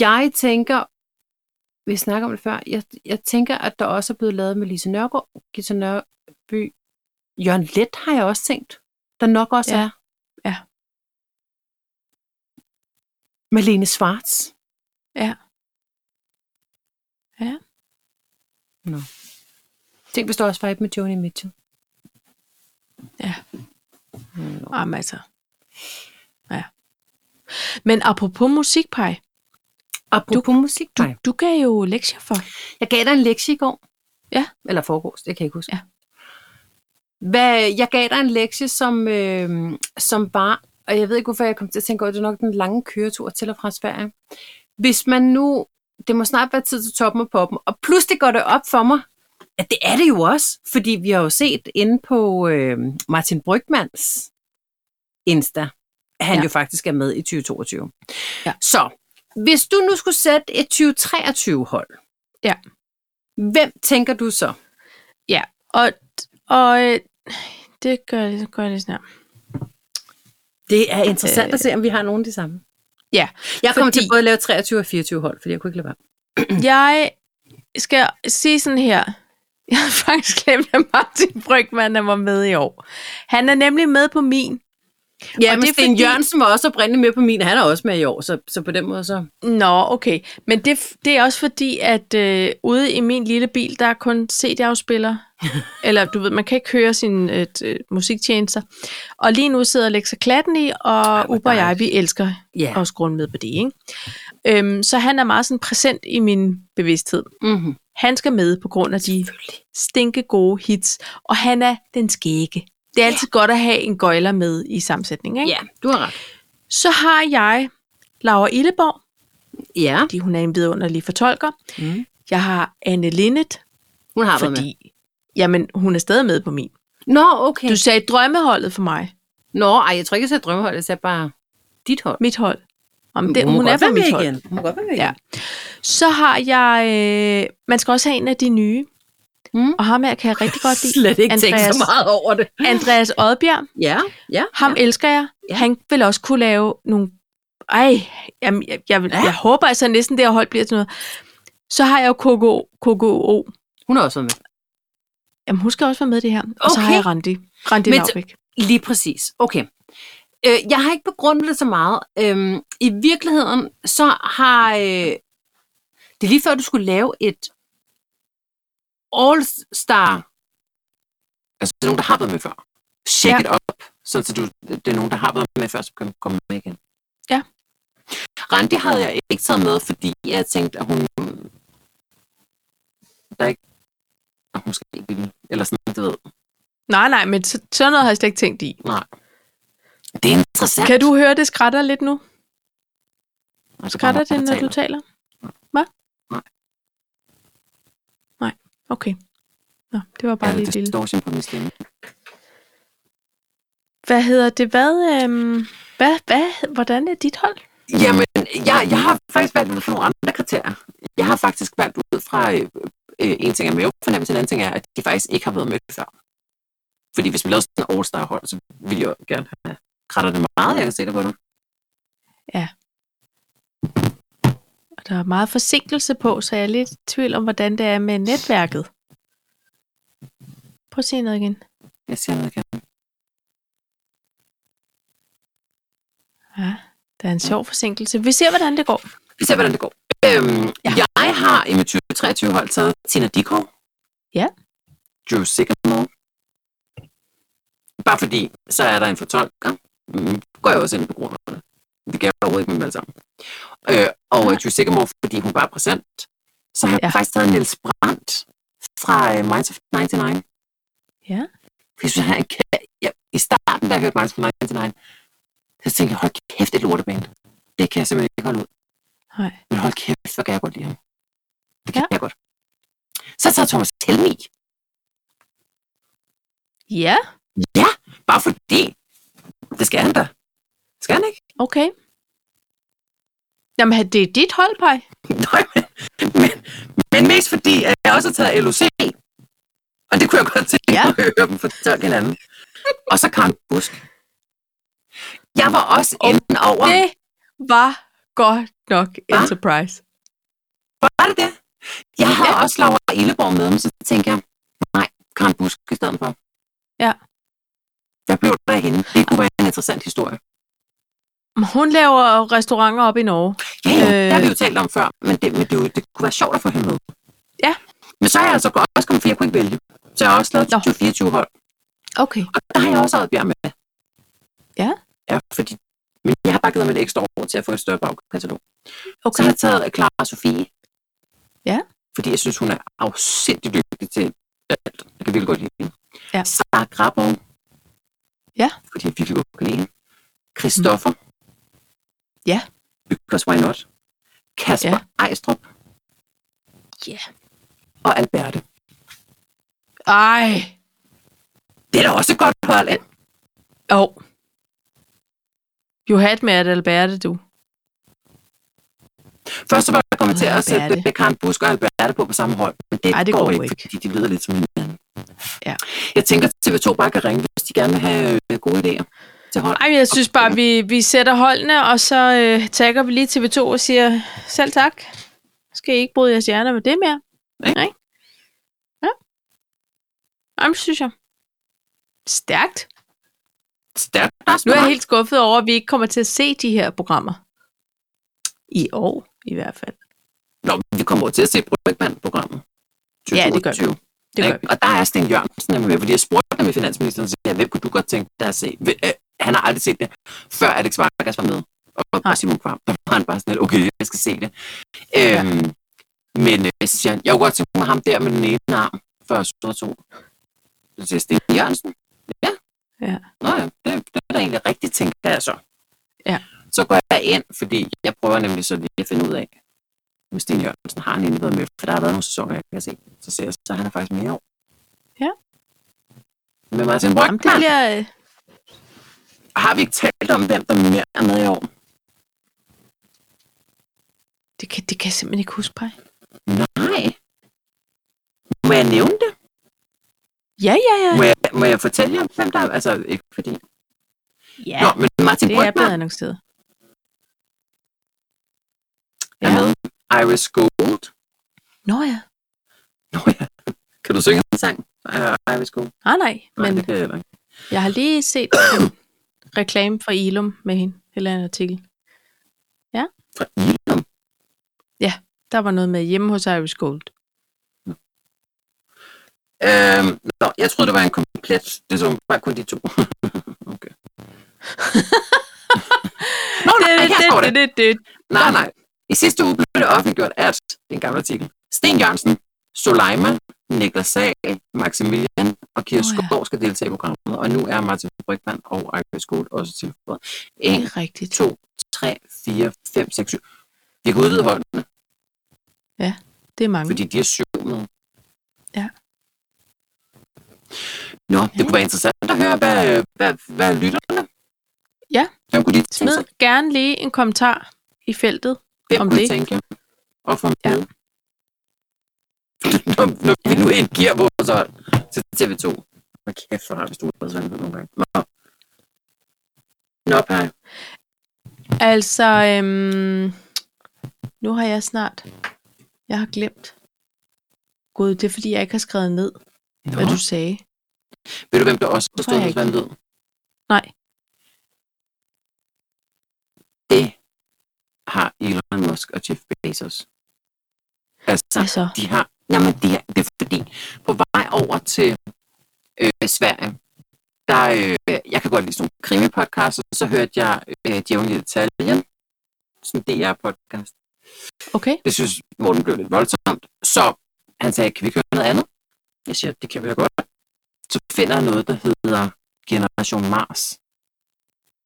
A: Jeg tænker, vi snakker om det før, jeg, jeg tænker, at der også er blevet lavet med Lise Nørgaard, Gita Nørby, Jørgen Let har jeg også tænkt, der nok også
B: Ja.
A: er.
B: Ja.
A: Malene Svarts.
B: Ja. Ja.
A: Nå. Tænk, hvis der også var et med Joni Mitchell.
B: Ja.
A: Nå.
B: Jamen altså. Ja. Men apropos musikpej,
A: Apropos du, musik,
B: du,
A: du,
B: du gav jo lektier for.
A: Jeg gav dig en lektie i går.
B: Ja.
A: Eller forgårs, det kan jeg ikke huske.
B: Ja.
A: Hvad, jeg gav dig en lektie, som, øh, som var, og jeg ved ikke, hvorfor jeg kom til at tænke over, det er nok den lange køretur til og fra Sverige. Hvis man nu, det må snart være tid til toppen og poppen, og pludselig går det op for mig, at det er det jo også, fordi vi har jo set inde på øh, Martin Brygmans Insta, at han
B: Ja.
A: ja. jo faktisk er med i 2022.
B: Ja.
A: Så, hvis du nu skulle sætte et 2023-hold, Hvem tænker du så?
B: Ja, og, og øh, det gør jeg, gør jeg lige snart.
A: Det er interessant øh, at se, om vi har nogen af de samme.
B: Ja,
A: Jeg kommer
B: fordi-
A: fordi... til både at lave 23 og 24 hold, fordi jeg kunne ikke lade være.
B: Jeg skal sige sådan her. Jeg har faktisk glemt, at Martin Brygman er med i år. Han er nemlig med på min.
A: Ja,
B: Og
A: men
B: det er
A: Sten
B: fordi-
A: Jørgensen var også oprindelig med på min, han er også med i år, så, så på den måde så...
B: Nå, okay. Men det, det er også fordi, at øh, ude i min lille bil, der er kun CD-afspiller. Eller du ved, man kan ikke høre sine øh, t- øh, musiktjenester. Og lige nu sidder Alexa Klatten i, og
A: Ej,
B: Ej,
A: hvor
B: Uber og jeg, vi
A: dejligt.
B: elsker
A: Ja.
B: også grund med på det. Ikke? Øhm, så han er meget sådan præsent i min bevidsthed.
A: Mm-hmm.
B: Han skal med på grund af de stinke gode hits, og han er den skægge. Det er altid godt at have en gøjler med i sammensætningen. Ikke?
A: Ja, du har ret.
B: Så har jeg Laura Illeborg,
A: Ja,
B: fordi hun er en vidunderlig fortolker.
A: Mm.
B: Jeg har Anne Linnet,
A: hun har været med.
B: fordi jamen, hun er stadig med på min.
A: Nå, okay.
B: Du sagde drømmeholdet for mig.
A: Nå, ej, jeg tror ikke, jeg sagde drømmehold, jeg sagde bare dit hold.
B: Mit hold. Om det,
A: må
B: hun, hun
A: godt
B: er
A: være
B: på
A: med
B: mit hold.
A: igen. Hun må godt være med
B: Ja.
A: igen.
B: Så har jeg... Øh, man skal også have en af de nye.
A: Mm.
B: Og ham her kan jeg rigtig godt lide.
A: Slet ikke tænkt så
B: Andreas.
A: meget over det.
B: Andreas Oddbjerg.
A: Ja, ja.
B: Ham ja. elsker jeg.
A: Ja.
B: Ja. Han vil også kunne lave nogle... Ej, jamen, jeg, jeg, vil,
A: Ja.
B: ja. jeg håber altså næsten, det her hold bliver til noget. Så har jeg jo KKO. KKO.
A: Hun har også været med.
B: Jamen, hun skal også være med i det her. Okay. Og så har
A: Okay.
B: jeg Randi. Randi
A: Men-
B: Laubæk.
A: Lige præcis. Okay. Øh, jeg har ikke begrundet det så meget. Øhm, I virkeligheden, så har... Øh, det er lige før, du skulle lave et all-star... Altså, det er nogen, der har været med før. Shake
B: Ja.
A: it up, sådan så du, det er nogen, der har været med før, som kan komme med igen.
B: Ja.
A: Randi havde jeg ikke taget med, fordi jeg tænkte, at hun... Der er ikke... Hun skal ikke ville, eller sådan, du ved.
B: Nej, nej, men så, sådan noget har jeg slet ikke tænkt i.
A: Det er interessant.
B: Kan du høre, det skrætter lidt nu?
A: Altså,
B: Skrætter det, når du taler? Hvad?
A: Nej.
B: Nej, okay. Nå, det var bare ja, lige et lille.
A: distortion på min stemme.
B: Hvad hedder det? Hvad, øhm, hvad, hvad, hvordan er dit hold?
D: Jamen, jeg, jeg har faktisk valgt ud fra nogle andre kriterier. Jeg har faktisk valgt ud fra, øh, øh, en ting er mavefornemmelse, en anden ting er, at de faktisk ikke har været med før. Fordi hvis vi lavede sådan en all hold så ville jeg jo gerne have kratter det meget, jeg kan se det på dig.
B: Og Der er meget forsinkelse på, så jeg er lidt i tvivl om, hvordan det er med netværket. Prøv at se noget igen.
D: Jeg siger noget, kan.
B: Ja, der er en sjov forsinkelse. Vi ser, hvordan det går.
D: Vi ser, hvordan det går. Øhm,
B: Ja.
D: ja. Jeg har i mit 2023-hold taget Tina Dikov.
B: Ja.
D: Drew Sycamore. Bare fordi, så er der en fortolker. Mm, går jeg også ind på grund af det. Det gør jeg overhovedet ikke med dem alle sammen. Øh, og
B: Nej.
D: Drew Sycamore, fordi hun bare er præsent. Så har jeg
B: Ja.
D: ja. faktisk taget Niels Brandt fra øh, Minds of 99.
B: Ja.
D: Fordi jeg synes, han kan... Ja, I starten, da jeg hørte Minds of 99, så tænkte jeg, hold kæft, et lorteband. Det kan jeg simpelthen ikke holde ud.
B: Nej.
D: Men hold kæft, hvor kan jeg godt lide ham. Det kan
B: Ja.
D: ja. jeg godt. Så tager Thomas Helmi.
B: Ja,
D: Ja, bare fordi. Det skal han da. Skal han ikke?
B: okay. Jamen, det er dit hold, Paj.
D: Nej, men, men, men mest fordi, at jeg også har taget LOC. Og det kunne jeg godt tænke
B: Ja.
D: ja. at høre dem fortælle hinanden. Og så Karen Busk. Jeg var også inde over...
B: Det var godt nok en
D: Hva?
B: surprise.
D: Var det det? Jeg havde også Laura Illeborg med, men så tænkte jeg, nej, Karen Busk i stedet for.
B: Ja.
D: Hvad blev der af hende? Det kunne være en interessant historie.
B: Hun laver jo restauranter op i Norge.
D: Ja, ja,
B: Øh.
D: øh... det har vi jo talt om før, men det, men det, er jo- det kunne være sjovt at få hende med.
B: Ja.
D: Men så er jeg altså godt også kommet, for jeg kunne ikke vælge. Så jeg har også lavet
B: Nå.
D: 24 hold,
B: Okay.
D: og der har jeg også Adbjerg med.
B: Ja.
D: Ja, fordi men jeg har bare givet mig et ekstra år til at få et altså, større bagkatalog. Så
B: Okay.
D: har jeg taget Clara Sofie.
B: Ja.
D: Fordi jeg synes, hun er afsindig dygtig til alt. Jeg kan virkelig godt lide hende.
B: Ja.
D: Sara Grabov.
B: Ja. Mm.
D: Fordi jeg virkelig godt kan lide hende. Christoffer.
B: Ja.
D: Because why not? Kasper ja. Ejstrup.
B: Ja.
D: Og Alberte.
B: Ej.
D: Det er da også et godt hold, ikke?
B: Jo. Oh. You had me at Alberte, du.
D: Først så var jeg kommet
B: Og
D: til at sætte
B: Alberte.
D: Karen Busk og Alberte på på samme hold, men det,
B: Ej, det går
D: går ikke,
B: ikke.
D: fordi de lyder lidt som hinanden.
B: Ja.
D: Jeg tænker, at TV2 bare kan ringe, hvis de gerne vil have øh, gode idéer til hold.
B: Ej, men jeg synes bare, vi, vi sætter holdene, og så øh, tager vi lige TV2 og siger, selv tak. Skal I ikke bryde jeres hjerner med det mere?
D: Nej.
B: Nej. Ja. Jamen, synes jeg. Stærkt.
D: Stærkt.
B: Nu er jeg helt skuffet over, at vi ikke kommer til at se de her programmer. I år, i hvert fald.
D: Nå, men vi kommer over til at se Brygmand-programmet.
B: Ja, det gør vi.
D: 2022,
B: Det Mm. gør
D: ikke?
B: vi.
D: Og der er Sten Jørgensen nemlig med, fordi jeg spurgte ham i finansministeren, så sagde, jeg, hvem kunne du godt tænke dig at se? Hvem- øh, Han har aldrig set det, før Alex Vargas var med. Og,
B: Nej.
D: og Simon Kvam, der var han bare sådan lidt, okay, jeg skal se det. Øhm, men øh, så siger han, jeg kunne godt tænke mig ham der med den ene arm, før Sødre 2. Så siger Sten Jørgensen, ja.
B: Ja.
D: Nå ja, det, det er da egentlig rigtigt, tænker jeg så.
B: Ja.
D: Så går jeg ind, fordi jeg prøver nemlig så lige at finde ud af, om Sten Jørgensen har han egentlig været med, for der har været nogle sæsoner, jeg kan se. Så ser jeg, så han er faktisk med i år.
B: Ja.
D: Med Martin
B: Jamen, det
D: Brøndberg.
B: bliver... øh,
D: Har vi ikke talt om, hvem der mere er med i år?
B: Det kan, det kan jeg simpelthen ikke huske, Paj.
D: Nej. Må jeg nævne det?
B: Ja, ja, ja.
D: Må jeg, må jeg fortælle jer, hvem der er? Altså, ikke fordi...
B: Ja,
D: Nå, men Martin
B: det er
D: Brygman
B: blevet annonceret.
D: er med. Iris Gold.
B: Nå ja.
D: Nå ja. Kan du synge en sang? Uh, Iris Gold.
B: Ah, nej,
D: Nej,
B: men
D: det kan jeg heller ikke.
B: jeg har lige set en reklame fra Ilum med hende, eller en artikel.
D: Fra Ilum.
B: Der var noget med hjemme hos Iris Gold.
D: Øhm, nå, jeg troede, det var en komplet. Det så bare kun de to. okay. nå, nej, her står det.
B: det, det.
D: Nej, nej. I sidste uge blev det offentliggjort, at det er en gammel artikel. Sten Jørgensen, Soleima, Niklas Sag, Maximilian og Kira
B: Nå ja.
D: oh, ja. Skov skal deltage i programmet. Og nu er Martin Brygman og Ejvind Skål også tilføjet.
B: Det
D: 1,
B: er rigtigt.
D: 2, 3, 4, 5, 6, 7. Vi kan udvide holdene,
B: Det er mange.
D: fordi de er syv med.
B: Mm. Ja.
D: Nå, det kunne være interessant at høre, hvad, hvad, hvad lytterne?
B: Ja.
D: Hvem kunne de tænke
B: Smid
D: sig?
B: gerne lige en kommentar i feltet.
D: Hvem
B: om
D: kunne
B: det.
D: det. tænke? Og for
B: Ja.
D: ja. når, når vi nu indgiver vores hold til TV2. Hvor kæft, hvor har vi stort bedre nogle gange. Nå. Nå, Paj.
B: Altså, øhm, nu har jeg snart... Jeg har glemt. Gud, det er fordi, jeg ikke har skrevet ned,
D: Nå.
B: hvad du sagde.
D: Ved du, hvem der også
B: Hvorfor
D: forstod
B: har jeg
D: hans
B: ikke-
D: vandlød?
B: Nej.
D: Det har Elon Musk og Jeff Bezos. Altså,
B: Hvad så?
D: de har... Jamen, det er, det er fordi, på vej over til øh, Sverige, der, øh, jeg kan godt lide sådan nogle krimi-podcasts, og så hørte jeg øh, Djævlen i Italien, sådan en DR-podcast.
B: Okay.
D: Det synes Morten blev lidt voldsomt. Så han sagde, kan vi køre noget andet? Jeg siger, det kan vi da godt. Så finder jeg noget, der hedder Generation Mars,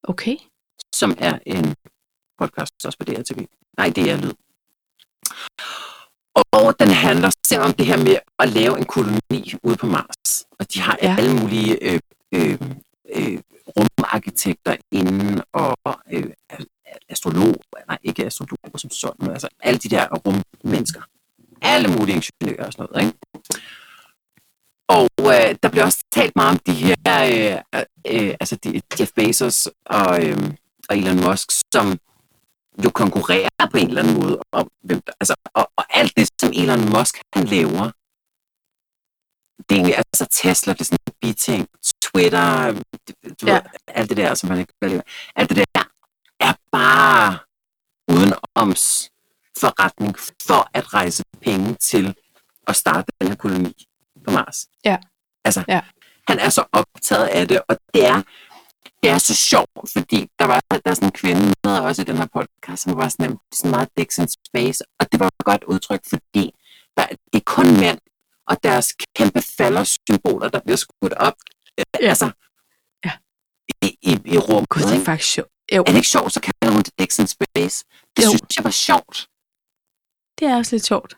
B: Okay.
D: som er en podcast også på DRTV. Nej, det er lyd. Og den handler simpelthen om det her med at lave en koloni ude på Mars. Og de har
B: Ja.
D: ja. alle mulige øh, øh, øh, rumarkitekter inden, og øh, astrologer, nej ikke astrologer som sådan, men altså alle de der rummennesker. Alle mulige ingeniører og sådan noget, ikke? Og øh, der bliver også talt meget om de her, øh, øh, altså de, Jeff Bezos og, øh, og Elon Musk, som jo konkurrerer på en eller anden måde om, hvem der, altså, og, og alt det, som Elon Musk han laver, det er egentlig, altså Tesla, det er sådan en biting, Twitter, du
B: Ja.
D: ja. ved, alt det der, som han ikke kan leve. Alt det der er bare udenoms forretning for at rejse penge til at starte den her koloni på Mars.
B: Ja.
D: Altså,
B: Ja.
D: han er så optaget af det, og det er det er så sjovt, fordi der var der er sådan en kvinde med også i den her podcast, som var sådan, en- sådan meget dicks in space, og det var et godt udtryk, fordi der, det er kun mænd, og deres kæmpe faldersymboler, der bliver skudt op, øh,
B: Ja.
D: altså,
B: Ja.
D: i, i, i rummet.
B: Gud, det er
D: ikke?
B: faktisk sjovt. Jo,
D: Er det ikke sjovt, så kalder hun det dicks in space? Det
B: Jo.
D: jo. synes jeg var sjovt.
B: det er også lidt sjovt.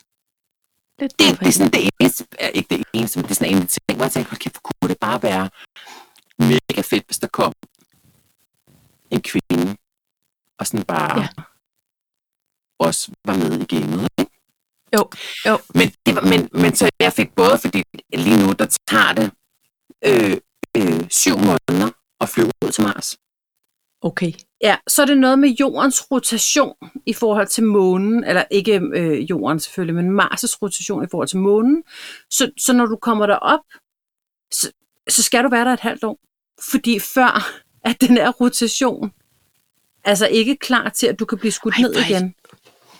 B: Lidt
D: det, det er
B: påfaldende.
D: sådan det eneste, eh, ikke det eneste, men det er sådan en af de ting, hvor jeg tænker, hold kæft, hvor kunne det bare være mega fedt, hvis der kom en kvinde, og sådan bare
B: Ja.
D: ja. også var med i gamet. ikke?
B: Jo, jo.
D: Men, det var, men, men så jeg fik både, fordi lige nu, der tager det øh, øh, syv måneder at flyve ud til Mars.
B: Okay.
A: Ja, så er det noget med jordens rotation i forhold til månen, eller ikke øh, jorden selvfølgelig, men Mars' rotation i forhold til månen. Så, så når du kommer derop, så, så skal du være der et halvt år. Fordi før at den her rotation altså ikke klar til, at du kan blive skudt
B: Ej,
A: Ej, ned
B: hvor er
A: igen.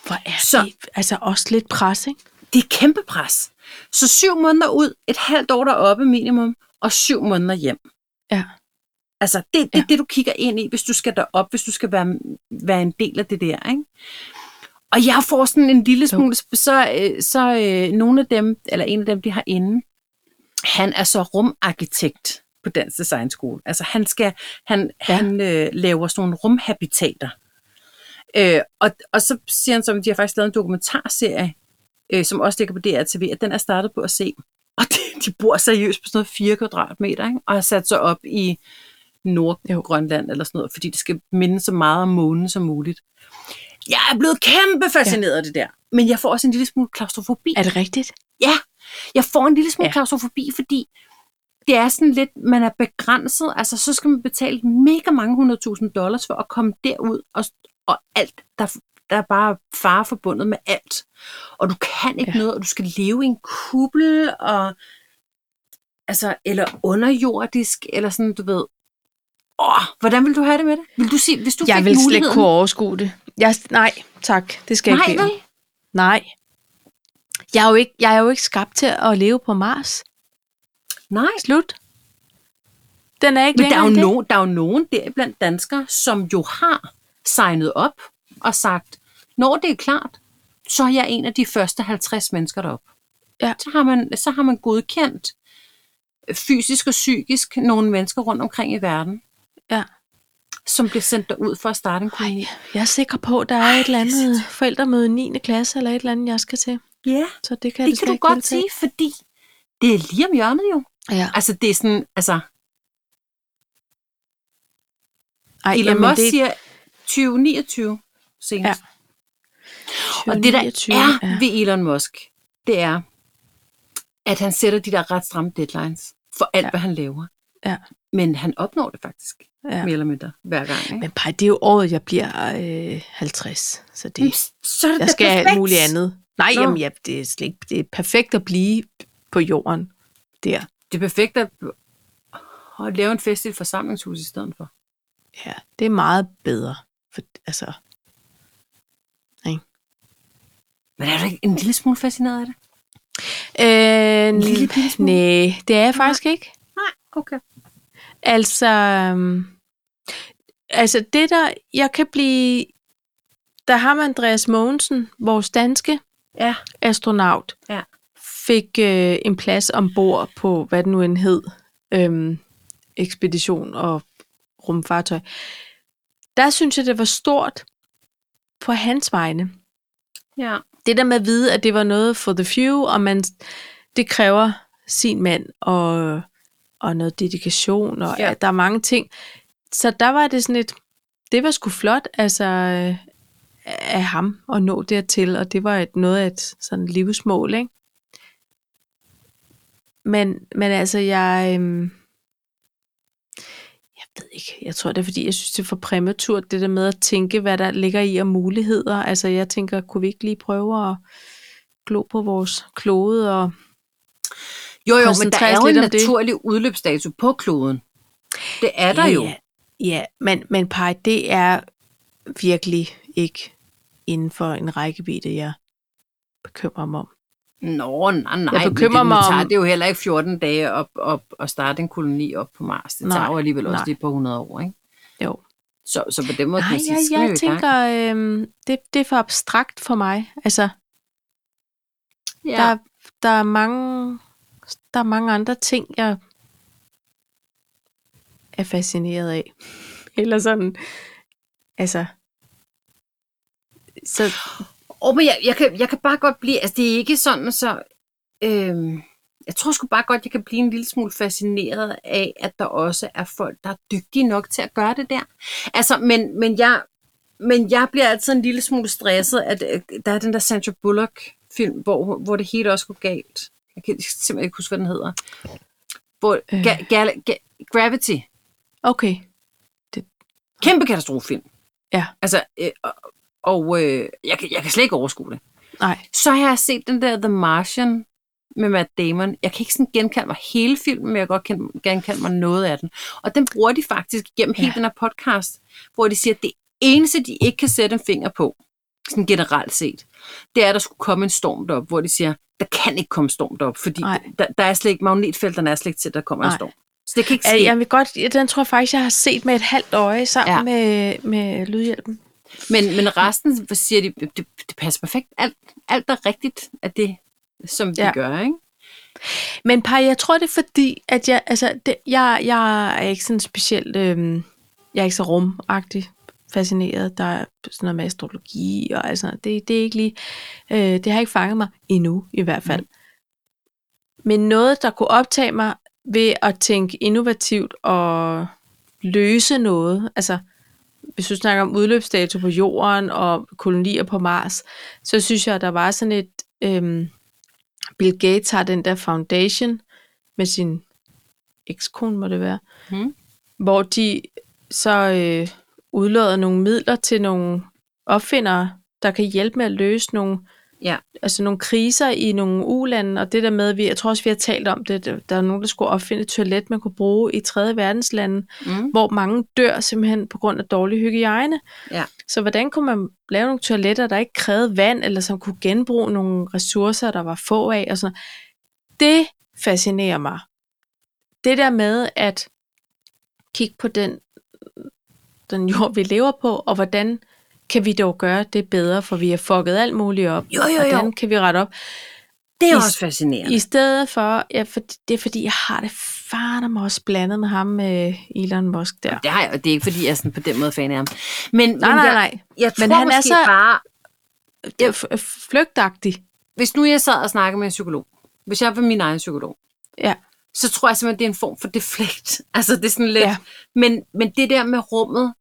B: Hvor er
A: Så-
B: det altså også lidt pres, ikke?
A: Det er kæmpe pres. Så syv måneder ud, et halvt år deroppe minimum, og syv måneder hjem.
B: Ja.
A: Altså, det er det,
B: Ja.
A: ja. det, du kigger ind i, hvis du skal derop, hvis du skal være, være en del af det der, ikke? Og jeg får sådan en lille smule, så, øh, så øh, nogle af dem, eller en af dem, de har inde, han er så rumarkitekt på Dansk Designskole. Altså, han skal, han, ja. han øh, laver sådan nogle rumhabitater Øh, og, og så siger han så, at de har faktisk lavet en dokumentarserie, øh, som også ligger på DRTV, at den er startet på at se. Og de, de bor seriøst på sådan noget 4 kvadratmeter, ikke? og har sat sig op i Nordgrønland eller sådan noget, fordi det skal minde så meget om månen som muligt. Jeg er blevet kæmpe fascineret ja. af det der, men jeg får også en lille smule klaustrofobi.
B: Er det rigtigt?
A: Ja, jeg får en lille smule ja.
B: Ja.
A: klaustrofobi, fordi det er sådan lidt, man er begrænset. Altså, så skal man betale mega mange 100.000 dollars for at komme derud, og, og alt, der, der er bare fare forbundet med alt. Og du kan ikke ja.
B: Ja.
A: noget, og du skal leve i en kuppel, og, altså, eller underjordisk, eller sådan, du ved. Åh, hvordan vil du have det med det? Vil du sige, hvis du
B: jeg
A: fik
B: vil slet ikke
A: muligheden?
B: kunne overskue det. Jeg, nej, tak. Det skal jeg
A: Nej,
B: ikke. bede om.
A: vel?
B: Nej. Jeg er, jo ikke, jeg er jo ikke skabt til at leve på Mars.
A: Nej.
B: Slut. Den er ikke
A: Men der er,
B: længere
A: jo
B: end det.
A: nogen, der er jo nogen deriblandt danskere, som jo har signet op og sagt, når det er klart, så er jeg en af de første 50 mennesker derop.
B: Ja.
A: Så, har man, så har man godkendt fysisk og psykisk nogle mennesker rundt omkring i verden,
B: Ja.
A: som bliver sendt derud for at starte en koloni.
B: Ej, altså. jeg er sikker på, at der er et eller andet forældremøde i 9. klasse, eller et eller andet, jeg skal til.
A: Ja,
B: Så det kan jeg
A: det kan
B: desværre
A: du
B: ikke
A: godt
B: deltage i.
A: sige, fordi det er lige om hjørnet jo.
B: Ja.
A: Altså det er sådan, altså
B: Ej,
A: Elon Musk det... siger 2029 senest.
B: Ja.
A: Og det, der
B: 29, ja.
A: er ved Elon Musk, det er, at han sætter de der ret stramme deadlines for alt, ja.
B: Ja.
A: hvad han laver.
B: Ja.
A: Men han opnår det faktisk, ja.
B: Ja.
A: mere eller mindre, hver gang. Ikke?
B: Men pej, det er jo året, jeg bliver øh, 50. Så det,
A: Men så er det
B: jeg
A: da
B: skal have alt
A: perfekt.
B: muligt andet. Nej,
A: Nå.
B: jamen, ja, det, er slet ikke, det er perfekt at blive på jorden der.
A: Det er perfekt at, at lave en fest i et forsamlingshus i stedet for.
B: Ja, det er meget bedre. For, altså,
A: Men er du ikke en lille smule fascineret af det?
B: øh,
A: lille bitte smule.
B: nej, det er jeg faktisk ikke.
A: Nej, okay.
B: Altså, øhm, altså det der, jeg kan blive... Der har man Andreas Mogensen, vores danske
A: Ja,
B: astronaut,
A: Ja.
B: fik øh, en plads ombord på, hvad den nu end hed, øhm, ekspedition og rumfartøj. Der synes jeg, det var stort på hans vegne.
A: ja.
B: Det der med at vide, at det var noget for the few, og man, det kræver sin mand og, og noget dedikation, og
A: Ja.
B: ja. at der er mange ting. Så der var det sådan et, det var sgu flot, altså øh, af ham at nå dertil, og det var et, noget af et sådan livsmål, ikke? Men, men altså, jeg... Øhm, jeg ved ikke. Jeg tror, det er, fordi jeg synes, det er for præmaturt, det der med at tænke, hvad der ligger i af muligheder. Altså, jeg tænker, kunne vi ikke lige prøve at glo på vores klode? Og...
A: Jo, jo, men der
B: Koncentrere
A: er
B: os
A: jo en
B: lidt om det.
A: naturlig udløbsdato på kloden. Det er der
B: ja,
A: jo.
B: Ja, ja. men, men Paj, det er virkelig ikke inden for en rækkevidde, jeg bekymrer mig om.
A: Nå, nej, nej.
B: Jeg bekymrer
A: men det,
B: mig
A: nu
B: om-
A: tager det jo heller ikke 14 dage op, op, at starte en koloni op på Mars. Det nej,
B: Nej,
A: tager jo alligevel også
B: nej.
A: lige på 100 år, ikke?
B: Jo.
A: Så, så på den måde kan
B: Nej,
A: man sige,
B: jeg,
A: skal vi jo
B: jeg
A: i gang.
B: tænker, øhm, det, det er for abstrakt for mig. Altså,
A: ja.
B: Der, der, er mange, der er mange andre ting, jeg er fascineret af. Eller sådan, altså... Så,
A: Åh, men jeg, jeg, kan, jeg kan bare godt blive, altså det er ikke sådan, så... Øhm, jeg tror sgu bare godt, jeg kan blive en lille smule fascineret af, at der også er folk, der er dygtige nok til at gøre det der. Altså, men, men, jeg, men jeg bliver altid en lille smule stresset, at øh, der er den der Sandra Bullock-film, hvor, hvor det hele også går galt. Jeg kan simpelthen ikke huske, hvad den hedder. Hvor,
B: Øh.
A: ga, ga, ga, Gravity.
B: okay.
A: Kæmpe katastrofefilm.
B: Ja.
A: Altså, øh, og, og øh, jeg, kan, jeg kan slet ikke overskue det.
B: Nej.
A: Så har jeg set den der The Martian med Matt Damon. Jeg kan ikke sådan genkalde mig hele filmen, men jeg kan godt ken- genkalde mig noget af den. Og den bruger de faktisk gennem hele
B: Ja.
A: den her podcast, hvor de siger, at det eneste, de ikke kan sætte en finger på, sådan generelt set, det er, at der skulle komme en storm derop, hvor de siger, der kan ikke komme storm derop, fordi
B: Nej.
A: der, der, er slet ikke, magnetfelterne er slet ikke til, at der kommer en
B: Nej.
A: storm. Så det kan ikke
B: Ja,
A: ske.
B: Jeg vil godt, ja, den tror jeg faktisk, jeg har set med et halvt øje sammen
A: Ja.
B: ja. med, med lydhjælpen.
A: Men, men resten hvor siger de, det, det passer perfekt. Alt, alt er rigtigt af det, som vi
B: Ja.
A: gør, ikke?
B: Men Paj, jeg tror, det er fordi, at jeg, altså, det, jeg, jeg er ikke sådan specielt, øhm, jeg er ikke så rumagtig fascineret. Der er sådan noget med astrologi og alt sådan noget. Det, det er ikke lige... Øh, det har ikke fanget mig endnu, i hvert fald. Men noget, der kunne optage mig ved at tænke innovativt og løse noget, altså hvis du snakker om udløbsdato på jorden og kolonier på Mars, så synes jeg, at der var sådan et... Øhm, Bill Gates har den der foundation med sin ekskone, må det være,
A: Mhm.
B: hvor de så øh, udlåder nogle midler til nogle opfindere, der kan hjælpe med at løse nogle,
A: Ja.
B: altså nogle kriser i nogle ulande, og det der med, vi, jeg tror også, vi har talt om det, der der er nogen, der skulle opfinde et toilet, man kunne bruge i tredje verdenslande,
A: Mm.
B: hvor mange dør simpelthen på grund af dårlig hygiejne.
A: Ja.
B: Så hvordan kunne man lave nogle toiletter, der ikke krævede vand, eller som kunne genbruge nogle ressourcer, der var få af? Og sådan noget. Det fascinerer mig. Det der med at kigge på den, den jord, vi lever på, og hvordan kan vi dog gøre det bedre, for vi har fucket alt muligt op.
A: Jo, jo, jo.
B: Hvordan kan vi rette op?
A: Det er
B: I-
A: også fascinerende.
B: I stedet for, ja, for, det er fordi, jeg har det fandeme også blandet med ham, øh, Elon Musk der.
A: Det har jeg, og det er ikke, fordi jeg er sådan på den måde fan af ham. Men,
B: Nej,
A: men
B: nej,
A: jeg,
B: nej.
A: Jeg tror
B: Men
A: men han
B: han er
A: måske
B: så-
A: bare,
B: Ja. f- f- Flygtagtig.
A: hvis nu jeg sad og snakkede med en psykolog, hvis jeg var min egen psykolog,
B: Ja.
A: så tror jeg simpelthen, det er en form for deflekt. Altså, det er sådan lidt...
B: Ja.
A: Ja. Men, men det der med rummet,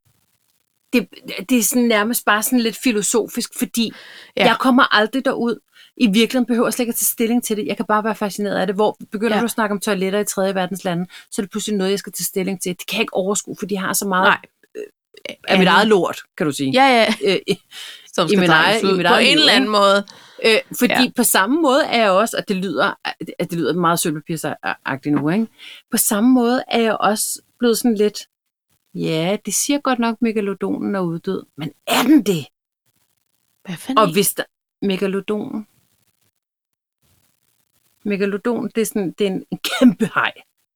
A: det, det er sådan nærmest bare sådan lidt filosofisk, fordi
B: Ja.
A: ja. jeg kommer aldrig derud. I virkeligheden behøver jeg slet ikke at tage stilling til det. Jeg kan bare være fascineret af det. Hvor begynder
B: Ja.
A: ja. du at snakke om toiletter i tredje verdens lande, så er det pludselig noget, jeg skal tage stilling til. Det kan jeg ikke overskue, for de har så meget øh,
B: Nej.
A: af mit eget lort, kan du sige.
B: Ja, ja.
A: Øh,
B: Som
A: I min egen- i mit
B: på
A: eget
B: en
A: liv,
B: eller anden
A: ikke?
B: måde.
A: Øh, fordi
B: Ja.
A: ja. på samme måde er jeg også, og det lyder, at det lyder meget sølvpapirsagtigt nu, ikke? på samme måde er jeg også blevet sådan lidt, ja, det siger godt nok, megalodonen er uddød, men er den det?
B: Hvad fanden?
A: Og hvis der, megalodonen, megalodon, det er, sådan, det er en, en kæmpe haj,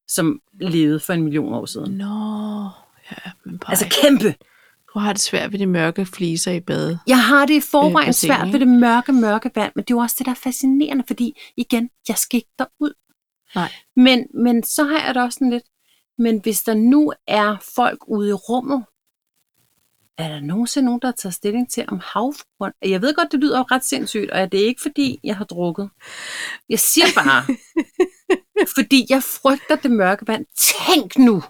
A: som levede for en million år siden.
B: Nå, ja, men bare
A: Altså
B: altså,
A: kæmpe.
B: du har det svært ved de mørke fliser i bade.
A: Jeg har det i forvejen
B: Øh,
A: øh,
B: på scenen,
A: svært
B: ikke?
A: ved det mørke, mørke vand, men det er jo også det, der er fascinerende, fordi igen, jeg skal ikke derud.
B: Nej.
A: Men, men så har jeg det også sådan lidt, men hvis der nu er folk ude i rummet, er der nogensinde nogen, der tager stilling til om havfruen? Jeg ved godt, det lyder jo ret sindssygt, og det er ikke fordi, jeg har drukket. Jeg siger bare, fordi jeg frygter det mørke vand. Tænk nu!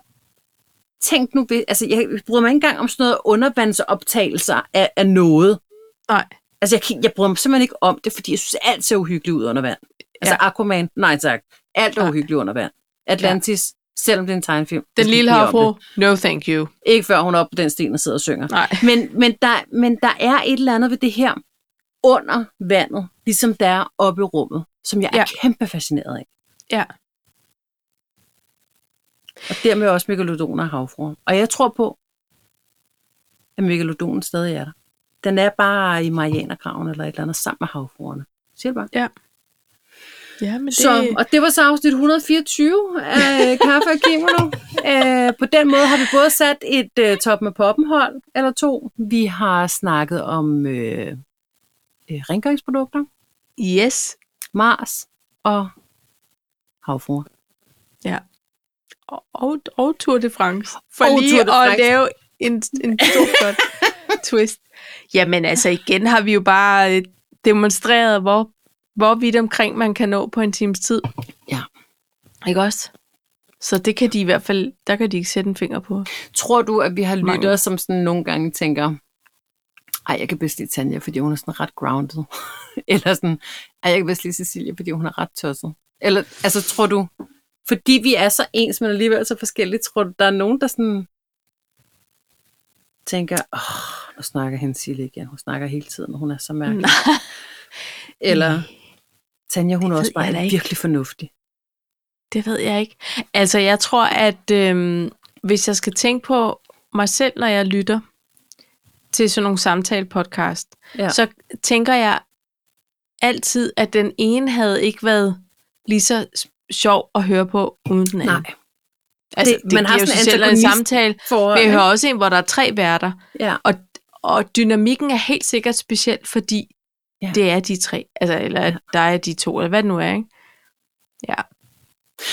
A: Tænk nu, ved- altså jeg bryder mig ikke engang om sådan noget undervandsoptagelser af, af noget.
B: Nej.
A: Altså, jeg, kan- jeg bryder mig simpelthen ikke om det, fordi jeg synes, alt ser uhyggeligt ud under vand. Altså,
B: Ja.
A: ja. Aquaman, nej tak. Alt er
B: Nej.
A: uhyggeligt under vand. Atlantis, selvom det er en tegnefilm. jeg
B: Den
A: skal ikke
B: lille
A: bede om
B: havfru,
A: det.
B: no thank you.
A: Ikke før hun er oppe på den sten og sidder og synger.
B: Nej.
A: Men, men, der, men der er et eller andet ved det her under vandet, ligesom der er oppe i rummet, som jeg er
B: Ja.
A: ja. kæmpe fascineret af.
B: Ja.
A: Og dermed også megalodoner og havfruer. Og jeg tror på, at megalodonen stadig er der. Den er bare i Marianergraven eller et eller andet sammen med havfruerne. Siger det bare.
B: Ja, men det...
A: Så, og det var så afsnit 124 af øh, Kaffe og Kimono. Æ, på den måde har vi både sat et uh, top med poppenhold eller to. Vi har snakket om øh, øh, rengøringsprodukter,
B: yes.
A: Mars og havfruer.
B: Og, og, og Tour de France. For
A: Og
B: lige
A: Tour de
B: at
A: France.
B: lave en, en stor flot twist. Jamen altså, igen har vi jo bare øh, demonstreret, hvor, hvor vidt omkring man kan nå på en times tid.
A: Ja.
B: Ikke også? Så det kan de i hvert fald, der kan de ikke sætte en finger på.
A: Tror du, at vi har
B: Mange.
A: lyttere, som sådan nogle gange tænker, ej, jeg kan bedst lide Tanja, fordi hun er sådan ret grounded. Eller sådan, ej, jeg kan bedst lide Cecilia, fordi hun er ret tosset. Eller, altså, tror du, fordi vi er så ens, men alligevel så forskellige, tror du, der er nogen, der sådan tænker, åh, nu snakker hende Silje igen, hun snakker hele tiden, og hun er så mærkelig. Eller, Tanja, hun
B: Det
A: er
B: ved
A: også
B: jeg da
A: bare
B: ikke.
A: virkelig fornuftig.
B: Det ved jeg ikke. Altså, jeg tror, at øhm, hvis jeg skal tænke på mig selv, når jeg lytter til sådan nogle samtale-podcast, ja.
A: Ja.
B: så tænker jeg altid, at den ene havde ikke været lige så s- sjov at høre på uden den anden.
A: Nej,
B: altså, det,
A: det-
B: det
A: man
B: man
A: har
B: giver jo
A: sådan
B: sig
A: en
B: selv en
A: antagonist-
B: samtale.
A: for,
B: Men jeg hører også en, hvor der er tre værter,
A: ja.
B: og, og dynamikken er helt sikkert speciel, fordi ja.
A: Ja.
B: det er de tre, altså, eller ja. der er de to, eller hvad det nu er, ikke?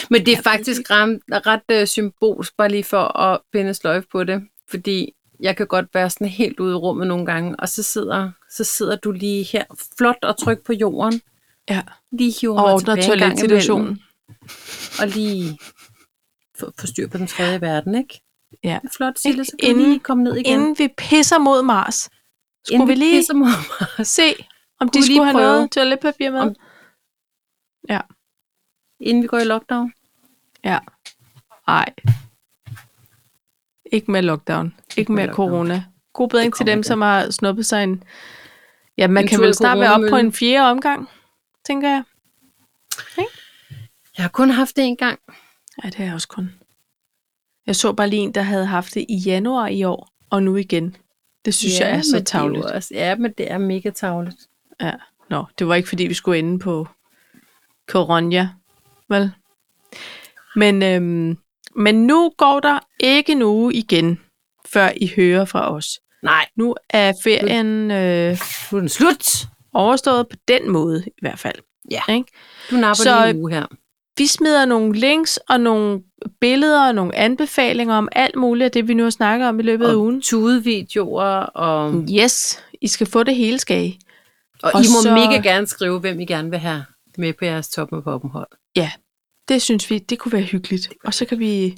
A: Men det er faktisk ram, ret øh, symbolsk, bare lige for at binde sløjf på det, fordi jeg kan godt være sådan helt ude i rummet nogle gange, og så sidder, så sidder du lige her, flot og tryg på jorden.
B: Ja.
A: Lige hiver
B: Og
A: mig
B: ordner
A: tilbage en gang
B: toilettituationen.
A: imellem, Og lige få, få styr på den tredje verden, ikke?
B: Ja.
A: Det er Flot, Sille, så kan
B: Inden-
A: inden, lige komme ned igen.
B: Inden vi pisser mod Mars, skulle vi lige
A: pisser mig
B: se, om de
A: Kunne vi lige
B: skulle have
A: prøve?
B: noget toiletpapir med.
A: Om- inden vi går i lockdown.
B: Ja. Nej. Ikke med lockdown. Ikke med
A: med lockdown.
B: corona. God bedring
A: Det
B: til
A: kommer
B: dem,
A: ikke.
B: som har snuppet sig en... Ja, man
A: En
B: kan
A: tur i
B: vel snart være oppe på
A: coronamøllen.
B: en fjerde omgang, tænker jeg.
A: Jeg har kun haft det en gang.
B: Ja, det er jeg også kun. Jeg så bare lige en, der havde haft det i januar i år, og nu igen. Det synes ja, jeg er
A: men
B: så
A: det jo
B: tavligt.
A: også- Ja, men det er mega tavligt.
B: Ja. Nå, det var ikke, fordi vi skulle ende på Coronia, vel? Men, øhm, men nu går der ikke en uge igen, før I hører fra os.
A: Nej,
B: Nu er ferien øh,
A: nu er den slut.
B: overstået på den måde i hvert fald.
A: Ja.
B: Ikke?
A: Du napper
B: Så-
A: så, lige en uge her.
B: Vi smider nogle links og nogle billeder og nogle anbefalinger om alt muligt af det, vi nu har snakket om i løbet af ugen.
A: Og tudevideoer, og,
B: Yes, I skal få det hele, skal I.
A: og,
B: og
A: I må
B: så-
A: så... mega gerne skrive, hvem I gerne vil have med på jeres top med poppenhold.
B: Det synes vi, det kunne være hyggeligt. Og så kan vi,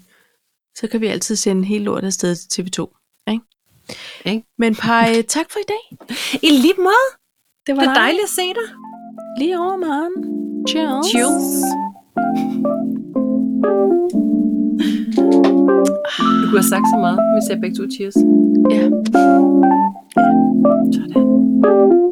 B: så kan vi altid sende hele lortet afsted til TV2. Ikke?
A: Ikke?
B: Men Paj, tak for i dag.
A: I lige måde.
B: Det var
A: Det er dejligt at se dig.
B: Lige over, morgen. Cheers.
A: Chills. Du kunne have sagt så meget, hvis jeg begge to cheers.
B: Ja.
A: Sådan.